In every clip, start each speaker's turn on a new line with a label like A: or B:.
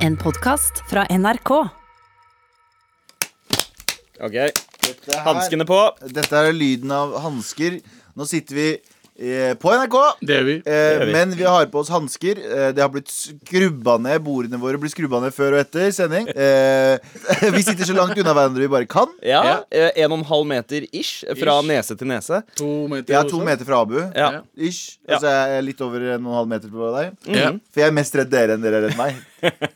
A: En podkast fra NRK.
B: Ok,
C: Dette her-
B: hanskene på
C: Dette er lyden av hansker. Nå sitter vi eh, på NRK,
D: Det gjør vi.
C: eh,
B: er vi.
C: men vi har på oss hansker. Eh, det har blitt skrubba ned. Bordene våre blir skrubba ned før og etter sending. Eh, vi sitter så langt unna hverandre vi bare kan.
B: Ja, eh, en og en halv meter ish eh, Fra nese til nese
D: To meter. sånn.
C: Jeg er to
D: også.
C: meter fra Abu.
B: Ja,
C: Ish.
B: Ja. Mm.
C: Altså jeg er litt over en og en halv meter på deg.
D: Ja.
C: For jeg er mest redd dere enn dere er redd meg.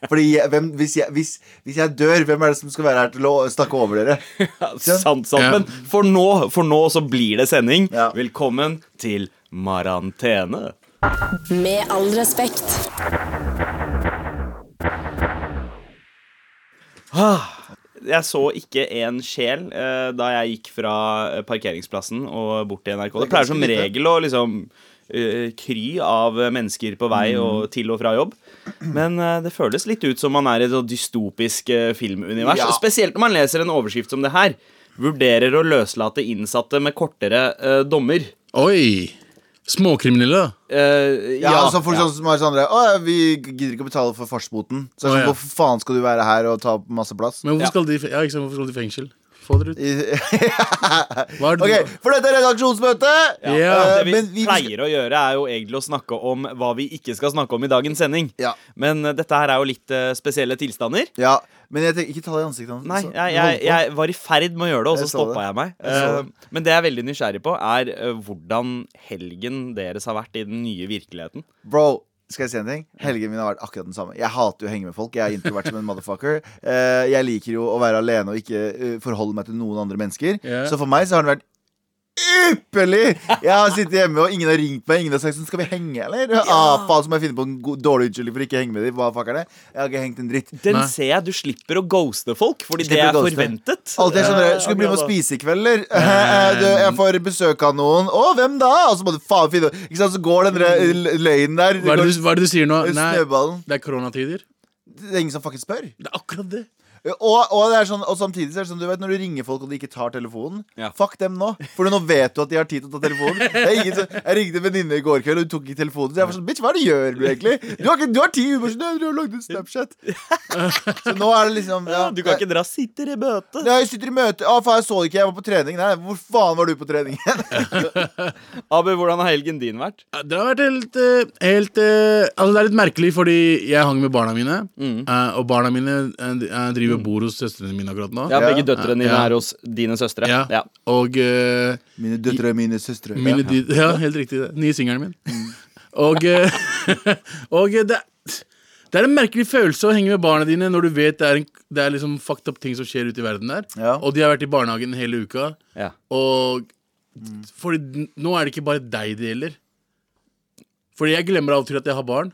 C: Fordi jeg, hvem, hvis, jeg, hvis, hvis jeg dør, hvem er det som skal være her til å snakke over dere?
B: ja sant, sant Men for nå, for nå så blir det sending
C: Ja.
B: Velkommen til Marantene
A: Med all respekt.
B: Jeg så ikke en sjel eh, da jeg gikk fra eh, parkeringsplassen og bort til NRK Det
C: Det er
B: pleier som
C: ganske lite.
B: regel å liksom eh, kry av eh, mennesker på vei
C: Mm.
B: og til og fra jobb Men eh, det føles litt ut som man er i et sånt dystopisk eh, filmunivers
C: Ja.
B: og Spesielt når man leser en overskrift som det her Vurderer å løslate innsatte med kortere eh, dommer
D: Oi! Småkriminelle.
B: Eh,
C: Ja, altså folk sånn som har sånn Å, ja, vi gidder ikke å betale for fartsboten. Så jeg
D: Å,
C: er
D: ja.
C: sånn, hvorfor faen skal du være her og ta opp masse plass?
D: Men hvorfor,
B: Ja.
D: skal de, fe- ja, ikke sant, hvorfor skal de i fengsel? Få dere ut. Hva er det
C: ok,
D: du-
C: for dette er redaksjonsmøte!
D: Ja.
C: Eh,
B: Det vi,
C: men vi-
B: pleier å gjøre, er jo egentlig å snakke om hva vi ikke skal snakke om i dagens sending.
C: Ja.
B: Men eh, dette her er jo litt eh, spesielle tilstander.
C: Ja, men jeg tenker, ikke ta det i ansiktet hans.
B: Nei,
C: altså.
B: jeg,
C: Hold
B: jeg,
C: på.
B: jeg var i ferd med å gjøre det, og
C: Jeg
B: så
C: så
B: stoppa
C: det.
B: jeg meg.
C: Jeg så det.
B: Eh, Men det jeg er veldig nysgjerrig på, er eh, hvordan helgen deres har vært i den nye virkeligheten.
C: Bro, skal jeg si en ting? Helgen min har vært akkurat den samme. Jeg hater jo å henge med folk. Jeg er introvert som en motherfucker. Eh, jeg liker jo å være alene og ikke eh, forholde meg til noen andre mennesker.
D: Ja.
C: Så for meg så har den vært Ypperlig! Jeg har sittet hjemme, og ingen har ringt meg. Ingen har sagt sånn, 'skal vi henge', eller? Ah, faen, så må jeg finne på en god, dårlig unnskyldning for ikke å henge med dem. Hva fuck er det? Jeg har ikke hengt en dritt.
B: Den
D: Nei.
B: ser jeg. Du slipper å ghoste folk, fordi det
C: Slipper å
B: er
C: ghoste.
B: forventet.
C: Alltid er sånn
B: Eh,
C: der, Skal du bli med og
B: akkurat da.
C: spise i kveld, eller? Eh, du, jeg får besøk av noen. Å, hvem da? Og så må du faen finne Ikke sant, så går den der eh, l- løgnen der.
D: hva, er det
C: går
D: du, hva er det du sier nå? Nei,
C: Snøballen.
D: det er koronatider.
C: Det er ingen som fucking spør.
D: Det er akkurat det.
C: Og, og, det er sånn, og samtidig så er det sånn, du vet når du ringer folk og de ikke tar telefonen
B: Ja.
C: Fuck dem nå, for nå vet du at de har tid til å ta telefonen. Det er ingen som, jeg ringte en venninne i går kveld, og hun tok ikke telefonen. Så jeg var sånn, bitch, hva er det du gjør du egentlig? Du har, ikke, du har ti uker siden du har lagd en Snapchat. Så nå er det liksom ja,
B: Ja, Du kan ikke dra 'sitter i bøte'.
C: Nei, jeg sitter i møte. Å, faen, jeg så det ikke. Jeg var på trening. Nei, hvor faen var du på trening?
B: Abu, hvordan har helgen din vært?
D: Ja, Det har vært helt, eh, helt eh, Altså, det er litt merkelig, fordi jeg hang med barna mine. eh, Og barna mine eh, de- eh, driver og bor hos søstrene mine akkurat nå.
B: Ja,
C: Ja.
B: Begge døtrene dine
D: Ja.
B: er hos dine søstre.
D: Ja.
B: Ja.
D: Og eh,
C: Mine døtre og mine søstre.
D: Mine
C: ja.
D: dyd- ja, helt riktig. det. Nye singelen min. Og, eh, og eh, det, det er en merkelig følelse å henge med barna dine når du vet det er, en, det er liksom fucked up ting som skjer ute i verden der.
C: Ja.
D: Og de har vært i barnehagen hele uka.
B: Ja.
D: Og
C: Mm.
D: fordi n- nå er det ikke bare deg det gjelder. Fordi jeg glemmer av og til at jeg har barn.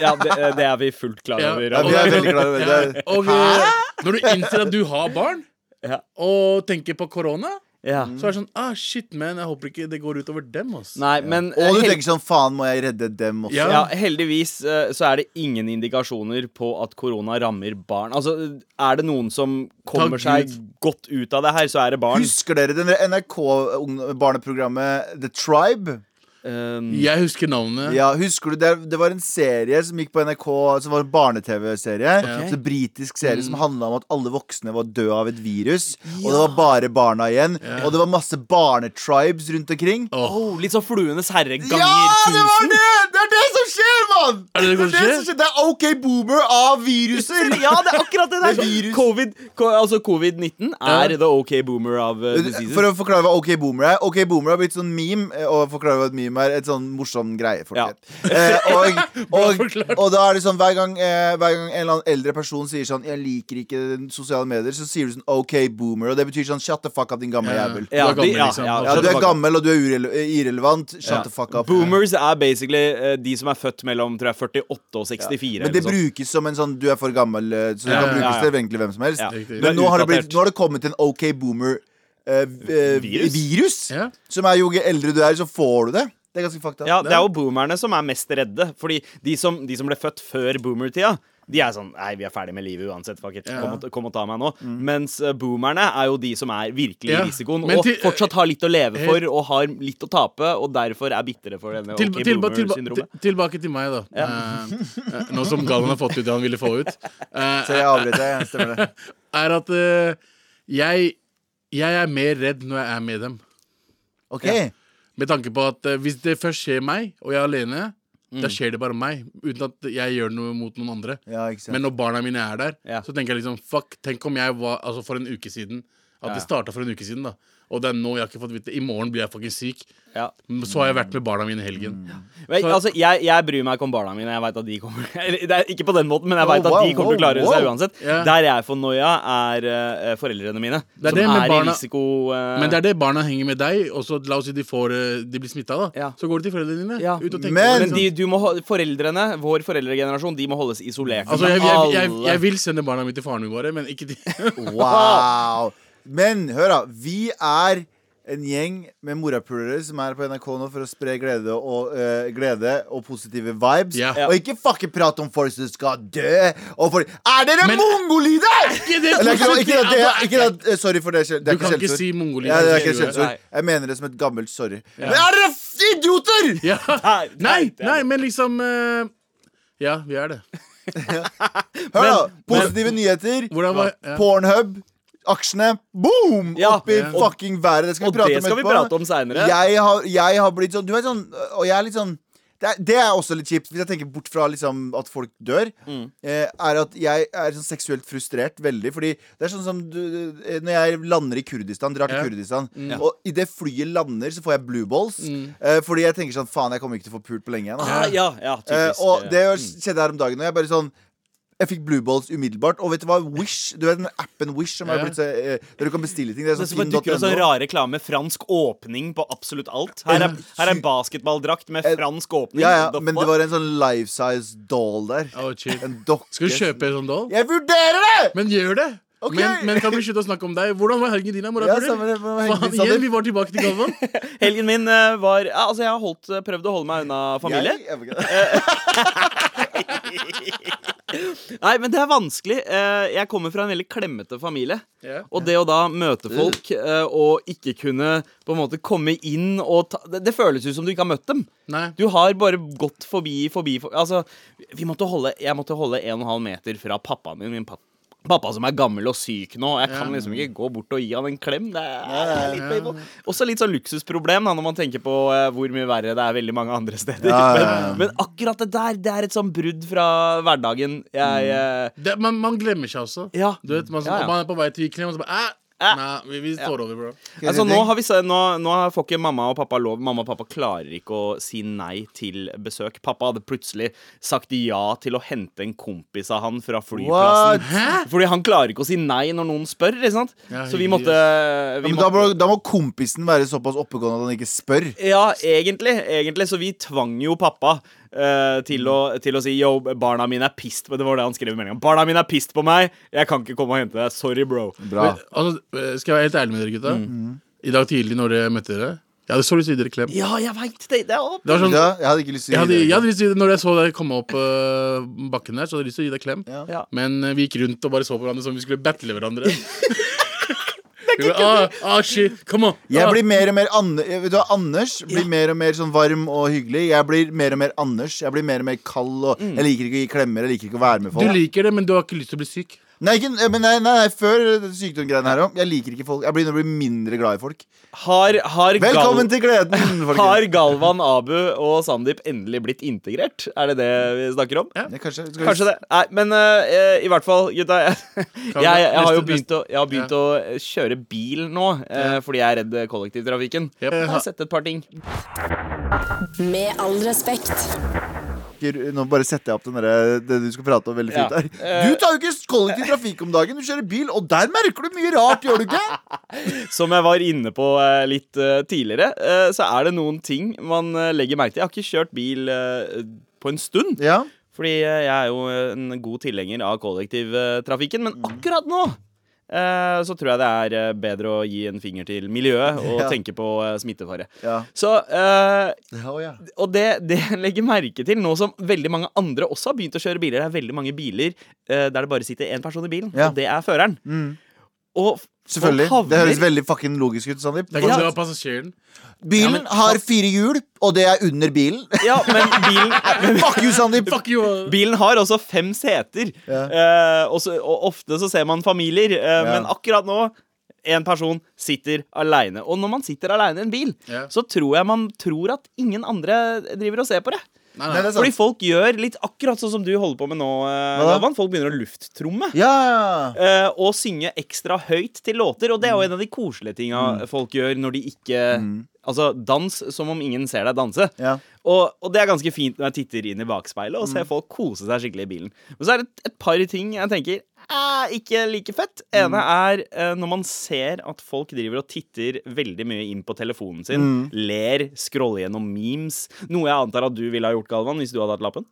B: Ja, det, eh, det er vi fullt klar
D: Ja.
B: over.
C: Ja, vi er veldig glad i det. det.
D: Og eh, når du innser at du har barn,
B: Ja.
D: og tenker på korona,
B: Ja.
D: så
C: Mm.
D: er det sånn ah, Shit, man, jeg håper ikke det går utover dem. Ass.
B: Nei, men eh,
C: er- Og du
B: hel-
C: tenker sånn, faen, må jeg redde dem også?
D: Ja.
B: ja, heldigvis eh, så er det ingen indikasjoner på at korona rammer barn. Altså, Er det noen som kommer
D: Takk
B: seg godt ut av det her, så er det barn.
C: Husker dere den NRK-barneprogrammet The Tribe?
B: Eh,
D: Jeg husker navnet.
C: Ja, husker du Det, det var en serie som gikk på NRK, som var en barne-TV-serie.
B: Ok.
C: Så en Britisk serie
D: Mm.
C: som handla om at alle voksne var døde av et virus. Og det var bare barna igjen. Og det var masse barnetribes rundt omkring.
B: oh, litt sånn Fluenes herre ganger
C: Ja, det var
B: tusen.
C: det! Det er det som skjer, mann!
D: Er det det som skjer?
C: Det er OK boomer av viruser.
B: Ja, det er akkurat det
C: Det er
B: der!
C: virus.
B: Covid, ko, altså Covid-19 er
D: Ja.
B: the OK boomer of uh, diseases.
C: eh, For å forklare hva OK Boomer er. OK Boomer har blitt sånn meme. eh, Og forklare hva et meme er Et sånn morsom
B: Ja.
C: greie. folkens. Eh, og, og,
D: forklart.
C: og da er det sånn hver gang, eh, hver gang en eller annen eldre person sier sånn 'Jeg liker ikke sosiale medier', så sier du sånn OK Boomer. Og det betyr sånn 'shut the fuck up, din gamle
D: Ja.
C: jævel'.
B: ja,
D: Du er eh, gammel,
B: de- ja,
D: liksom.
B: ja,
C: Ja,
B: shut
C: du
B: the
C: er
B: fuck up.
C: gammel, og du er urele- irrelevant. Shut
D: Ja.
C: the fuck up.
B: Boomers er basically eh, de som er født mellom tror jeg, 48 og 64.
C: Men det
B: eller noe sånt.
C: brukes som en sånn 'du er for gammel', eh, så det
D: Ja,
C: kan
D: ja,
C: brukes
B: ja.
C: til egentlig hvem som helst.
B: Ja.
D: Riktig.
C: Men
B: Det er
C: nå har, det
B: utdatert.
C: blitt, nå har det kommet en OK Boomer eh, v- eh,
B: Virus?
C: virus
D: Ja.
C: som er jo eldre du er, så får du det. Det er ganske fucked up.
B: Ja, det er jo boomerne som er mest redde. Fordi de som, de som ble født før boomertida, de er sånn Nei, vi er ferdig med livet uansett. Fuck it. Kom, og, kom og ta meg nå. Mens eh, boomerne er jo de som er virkelig i
D: Mm. Ja,
B: risikoen,
D: men
B: og
D: til-
B: fortsatt har litt å leve
D: eh,
B: for, og har litt å tape, og derfor er bitre for denne
D: Til,
B: ok
D: tilba, tilba, til,
B: boomer-syndromet.
D: tilbake til meg, da. Eh, eh, nå som Galvan har fått ut det han ville få ut. eh,
C: Så jeg avbryter. Jeg stemmer det.
D: er at eh, jeg, jeg er mer redd når jeg er med dem.
C: Ok,
D: Med tanke på at eh, hvis det først skjer meg, og jeg er alene,
B: Mm.
D: da skjer det bare meg. Uten at jeg gjør noe mot noen andre.
C: ja, ikke sant
D: Men når barna mine er der,
B: Ja.
D: så tenker jeg liksom Fuck, tenk om jeg var Altså for en uke siden. At
B: Ja.
D: det starta for en uke siden, da. Og det er nå jeg har ikke fått vite I morgen blir jeg fucking syk.
B: Ja.
D: Så har jeg vært med barna mine i helgen.
B: Men,
D: Så-
B: altså, jeg, jeg bryr meg ikke om barna mine. Jeg vet at de kommer Eller, det er Ikke på den måten, men jeg vet
C: Wow,
B: at de kommer til å
C: wow,
B: klare
C: wow.
B: seg uansett.
D: Ja.
B: Der jeg får noia, er eh, foreldrene mine.
D: er
B: Som
D: det med
B: er
D: barna-
B: i risiko eh,
D: Men det er det barna henger med deg, og så la oss si de, får, eh, de blir smitta, da.
B: Ja.
D: Så går de til foreldrene dine.
B: Ja.
D: Ut og tenker
C: Men-
D: på det,
B: Men de,
D: liksom.
B: du må, ho- foreldrene, vår foreldregenerasjon, de må holdes isolert.
D: Altså, jeg,
B: Men
D: jeg, jeg,
B: alle-
D: jeg vil sende barna mine til faren min våre, men ikke til
C: Wow. Men hør, da. Vi er en gjeng med morapulere som er på NRK nå for å spre glede og, eh, glede og positive vibes.
D: Ja.
C: Og ikke fucking prate om folk som skal dø. Og folk Er dere
D: Men-
C: mongolider?!
D: Ikke det
C: Eller, ikke, ikke, at det,
D: positive,
C: ikke at, eh, sorry for det. Det er
D: altså, Du
C: ikke
D: kan ikke
C: skjellsord.
D: si mongolider.
C: Ja, det er ikke
B: Nei.
C: skjellsord. Jeg mener det som et gammelt sorry. Men er dere f- idioter?!
D: Ja.
B: Nei,
D: Nei,
B: det er
D: nei,
B: det.
D: men liksom eh, Ja, vi er det.
C: Hør, da.
D: men-
C: Positive nyheter.
D: Hvordan var ja.
C: Pornhub. Aksjene boom!
B: Ja.
C: opp i
D: Ja.
C: fucking været. Det skal
B: Og
C: vi prate
B: det
C: om
B: skal vi
C: etterpå.
B: prate om seinere.
C: jeg, har, jeg har blitt sånn Du vet sånn Og jeg er litt sånn det er, det er også litt kjipt, hvis jeg tenker bort fra liksom at folk dør.
B: Mm.
C: Eh, er at jeg er sånn seksuelt frustrert veldig. Fordi det er sånn som du, eh, Når jeg lander i Kurdistan, drar til
D: Ja.
C: Kurdistan,
B: Mm.
C: og idet flyet lander, så får jeg blue balls. Eh, fordi jeg tenker sånn Faen, jeg kommer ikke til å få pult på lenge igjen. da."
B: Ah, Mm. ja, ja, Mm.
C: Eh,
B: typisk.
C: og det skjedde her om dagen. Og jeg bare sånn jeg fikk blue balls umiddelbart. Og vet du hva? Wish, du vet den appen Wish som
D: Ja.
C: har blitt så, eh, der du kan bestille ting? Det er
B: Det
C: sånn
B: som bare dukker opp sånn
C: finn.no.
B: rar reklame. Fransk åpning på absolutt alt. Her er, her er basketballdrakt med fransk åpning.
C: Eh, Ja, ja,
B: The
C: men det
B: fuck?
C: var en sånn life size doll der.
D: Å, chill.
C: En dokke.
D: Skal du kjøpe en sånn doll?
C: Jeg vurderer det!
D: Men gjør det!
C: Ok.
D: Men, men kan vi slutte å snakke om deg? Hvordan var helgen din? da, Mora,
C: Ja,
D: Purre?
C: samme det, hvordan var helgen
D: Faen,
C: din, Sander?
D: igjen, vi var tilbake til Galvan.
B: Helgen min eh, var ja, Altså, jeg har holdt, prøvd å holde meg unna familie.
C: Jeg,
D: Eh,
C: jeg,
B: Nei, men det er vanskelig. Eh, Jeg kommer fra en veldig klemmete familie.
D: Ja.
B: Og det å da møte folk eh, og ikke kunne på en måte komme inn og ta Det, det føles ut som du ikke har møtt dem.
D: Nei.
B: Du har bare gått forbi, forbi for, Altså, vi måtte holde, jeg måtte holde 1,5 meter fra pappaen min. min pappa. Pappa som er gammel og syk nå. Jeg kan
D: Ja.
B: liksom ikke gå bort og gi han en klem. Det er litt painful. Også litt sånn luksusproblem da, når man tenker på eh, hvor mye verre det er veldig mange andre steder.
C: Ja, ja, ja.
B: Men, men akkurat det der, det er et sånn brudd fra hverdagen. Jeg
C: Mm.
B: eh,
D: Det, man, man glemmer seg også.
B: Ja.
D: Du vet, man,
B: Ja, ja.
D: man er på vei til Viklem, og så
B: Æ.
D: bare Æ! Nei, vi, vi står over, bro.
B: Altså, nå, har vi, se- nå, nå får ikke mamma og pappa lov. Mamma og pappa klarer ikke å si nei til besøk. Pappa hadde plutselig sagt ja til å hente en kompis av han fra flyplassen.
C: What?
D: Hæ?
B: Fordi han klarer ikke å si nei når noen spør. ikke sant?
D: Ja,
B: Så vi
D: hyggelig,
B: måtte, vi
C: men da, må,
B: måtte
C: da må kompisen være såpass oppegående at han ikke spør.
B: ja, egentlig, egentlig. Så vi tvang jo pappa eh, til, å, til å si Yo, barna mine er pissed på Det var det han skrev i meldinga. Barna mine er pissed på meg. Jeg kan ikke komme og hente deg. Sorry, bro.
C: Bra.
D: Men, altså, eh, skal jeg være helt ærlig med dere, gutta?
C: Mm.
D: I dag tidlig når jeg møtte dere Jeg hadde så lyst til å gi dere klem.
B: Ja, jeg veit det. Det er opp.
D: Det var sånn,
C: Ja, jeg hadde ikke lyst til
D: jeg
C: å
D: hadde,
C: gi
D: jeg
C: deg
D: hadde lyst til, å- når jeg så deg komme opp eh, bakken der, så hadde jeg lyst til å gi deg klem.
C: Ja.
B: Ja.
D: Men eh, vi gikk rundt og bare så på hverandre som om vi skulle battle hverandre. Vi bare, ah, ah, shit, come on
C: Jeg
D: ah.
C: blir mer og mer Anne, Vet du hva, Anders blir mer og mer sånn varm og hyggelig. Jeg blir mer og mer Anders. Jeg blir mer og mer kald. Og Jeg liker ikke å gi klemmer. Jeg liker ikke å være med
D: Mm. Du
C: folk.
D: liker det, men du har ikke lyst til å bli syk.
C: Nei, ikke, eh, men nei, nei, nei, før sykdomsgreiene her òg. Jeg liker ikke folk. Jeg begynner å bli mindre glad i folk.
B: Har, har gal-
C: Velkommen til gleden,
B: Har
C: folkens.
B: Galvan, Abu og Sandeep endelig blitt integrert? Er det det vi snakker om?
D: Ja.
C: Ja, Kanskje, skal vi-
B: Kanskje det. Nei, men eh, i hvert fall, gutta. Jeg, jeg,
D: Kan-
B: jeg har jo
D: neste-
B: begynt, å, jeg har begynt å eh, kjøre bil nå eh, fordi jeg er redd kollektivtrafikken.
D: Yep.
B: Jeg har sett et par ting.
A: Med all respekt.
C: snakker- Nå bare setter jeg opp den derre- det du skal prate om veldig fint
B: Ja. Eh,
C: her. Du tar jo ikke kollektiv trafikk om dagen, du kjører bil, og der merker du mye rart, gjør du ikke?
B: Som jeg var inne på eh, litt eh, tidligere, eh, så er det noen ting man eh, legger merke til. Jeg har ikke kjørt bil eh, på en stund.
C: Ja. Mm.
B: Fordi eh, jeg er jo en god tilhenger av kollektivtrafikken, men akkurat nå eh, så tror jeg det er eh, bedre å gi en finger til miljøet og
C: Ja.
B: tenke på eh, smittefare.
C: Ja.
B: Så eh,
C: Ja, å ja.
B: og det, det jeg legger merke til nå som veldig mange andre også har begynt å kjøre biler. Det er veldig mange biler eh, der det bare sitter én person i bilen,
C: Ja. Mm.
B: og det er føreren. Og f-
C: Selvfølgelig.
B: folk havner-
C: Det høres veldig fucking logisk ut, Sandeep.
D: Det er ikke
B: Ja.
D: sånn at det var passasjeren.
B: Ja,
C: Bilen
B: men-
C: har fire hjul, og det er under bilen.
B: Ja, men bilen,
C: Fuck you, Sandeep!
D: Fuck you!
B: bilen har også fem seter. Eh, og, så, og ofte så ser man familier, eh, men akkurat nå en person sitter aleine. Og når man sitter aleine i en bil,
D: Ja.
B: så tror jeg man tror at ingen andre driver og ser på det.
D: Nei,
C: Nei,
D: nei.
C: det er
B: Fordi
C: sant.
B: folk gjør litt akkurat sånn som du holder på med nå, eh,
C: Hva da?
B: Galvan. Folk begynner å lufttromme.
C: Ja,
B: eh, og synge ekstra høyt til låter. Og det er
C: Mm.
B: jo en av de koselige tinga folk gjør når de ikke Altså, dans som om ingen ser deg danse.
C: Ja.
B: Og, og det er ganske fint når jeg titter inn i bakspeilet og ser folk kose seg skikkelig i bilen. Men så er det et, et par ting jeg tenker er ikke like fett. Ene er eh, når man ser at folk driver og titter veldig mye inn på telefonen sin. Ler, scroller gjennom memes. Noe jeg antar at du ville ha gjort, Galvan, hvis du hadde hatt lappen.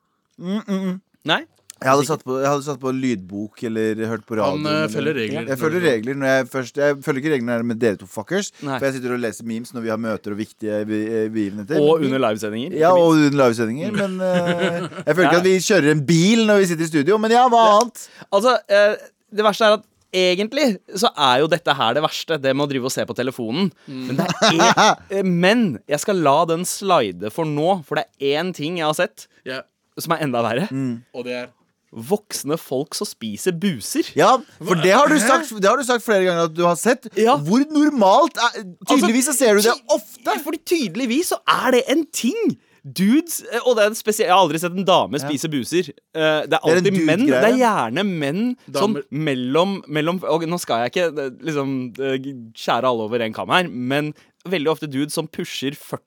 B: Nei?
C: Jeg hadde, satt på, jeg hadde satt på lydbok eller hørt på radio.
D: Han eh,
C: eller-
D: følger regler.
C: Jeg følger regler når jeg først Jeg følger ikke reglene her med dere to fuckers.
B: Nei.
C: For jeg sitter og leser memes når vi har møter og viktige be- eh, begivenheter.
B: Og under livesendinger. ikke
C: ja,
B: minst.
C: og under livesendinger. Men eh, jeg føler ikke at vi kjører en bil når vi sitter i studio. Men ja, hva annet?
B: Altså, eh, det verste er at egentlig så er jo dette her det verste. Det med å drive og se på telefonen. Men, det er eh, men jeg skal la den slide for nå, for det er én ting jeg har sett
D: Ja,
B: som er enda verre.
D: og det er
B: Voksne folk som spiser buser.
C: Ja, for det har, du sagt, det har du sagt flere ganger at du har sett.
B: Ja. Altså,
C: Hvor normalt er Tydeligvis så ser du det ofte.
B: Ja, Fordi tydeligvis så er det en ting. Dudes eh, Og det er en spesiell Jeg har aldri sett en dame spise buser. Eh, Det er
C: er en
B: alltid menn.
C: dude-greie.
B: Det er gjerne menn
D: Damer.
B: sånn mellom, mellom og Nå skal jeg ikke eh, liksom eh, skjære alle over en kam her, men veldig ofte dudes som pusher 40.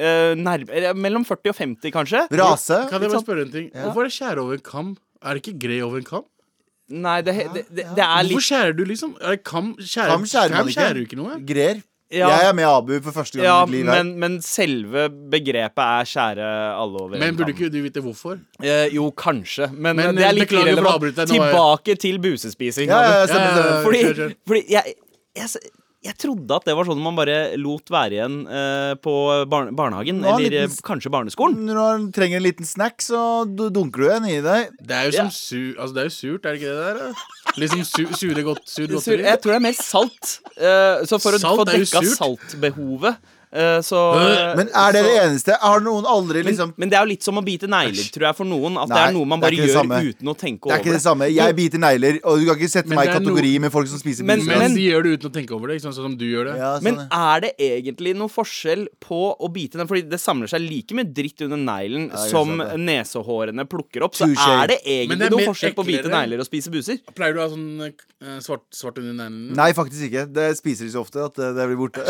B: eh, nærm- eller mellom 40 og 50, kanskje.
C: Rase.
D: Kan jeg bare spørre en ting? Hvorfor er det skjære over en kam? Er det ikke gre over en kam?
B: Nei, det, det, det, det er
D: Hvorfor
B: litt
D: skjærer du liksom? Er det kam skjærer,
C: Kam skjærer man
D: kam
C: ikke.
D: skjærer jo ikke noe.
C: Grer.
B: Ja.
C: Jeg er med Abu for første gang
B: ja,
C: i mitt liv her.
B: men, men selve begrepet er skjære alle over
D: Men
B: en
D: burde
B: kam.
D: ikke du vite hvorfor?
B: Eh, jo, kanskje, men,
D: Men,
B: det
D: eh,
B: er litt
D: beklager for å
B: irrelevant.
D: avbryte deg, nå er
B: Tilbake til busespising.
C: Ja, ja,
B: Robert.
C: ja, stemmer,
D: Ja, ja,
C: stemmer.
D: ja.
B: Fordi,
D: Kjør, kjør.
B: fordi jeg, jeg, s- jeg trodde at det var sånn man bare lot være igjen eh, på barne, barnehagen,
C: Nå er
B: eller
C: liten
B: eh,
C: s-
B: kanskje barneskolen.
C: Når du trenger en liten snack, så du- dunker du en i deg.
D: Det er jo som
B: Ja.
D: su altså, det er jo surt, er det ikke det der? da? Liksom su sure godt, sur
B: Så
D: godteri.
B: jeg tror det er mer salt. Eh, så for å
D: Salt
B: få
D: er jo
B: dekka
D: surt.
B: saltbehovet, eh, så
D: Øh,
C: Men er det det eneste? Har noen aldri liksom
B: men det er jo litt som å bite negler, tror jeg, for noen. At det
C: Nei,
B: er noe man
C: det er
B: bare
C: ikke det
B: gjør
C: samme.
B: uten å tenke
C: Det er
B: over
C: ikke det samme. Jeg biter negler, og du kan ikke sette
D: Men
C: meg i
D: det er no-
C: kategori med folk som spiser
B: Men-
C: buser.
D: Mens
B: men-
D: de gjør det uten å tenke over det, ikke sant? sånn som du gjør det.
C: Ja, sånn,
B: Men
C: ja.
B: er det egentlig noe forskjell på å bite den? Fordi det samler seg like mye dritt under neglen
C: det er
B: som
C: sant, det.
B: nesehårene plukker opp. Så
C: Touché.
B: er det
D: Men
B: egentlig
D: det er mer
B: noe forskjell på å bite
D: eklere.
B: negler og spise buser?
D: Pleier du å ha sånn eh, svart, svart under neglene?
C: Nei, faktisk ikke. Det spiser de så ofte at eh, det, det blir borte.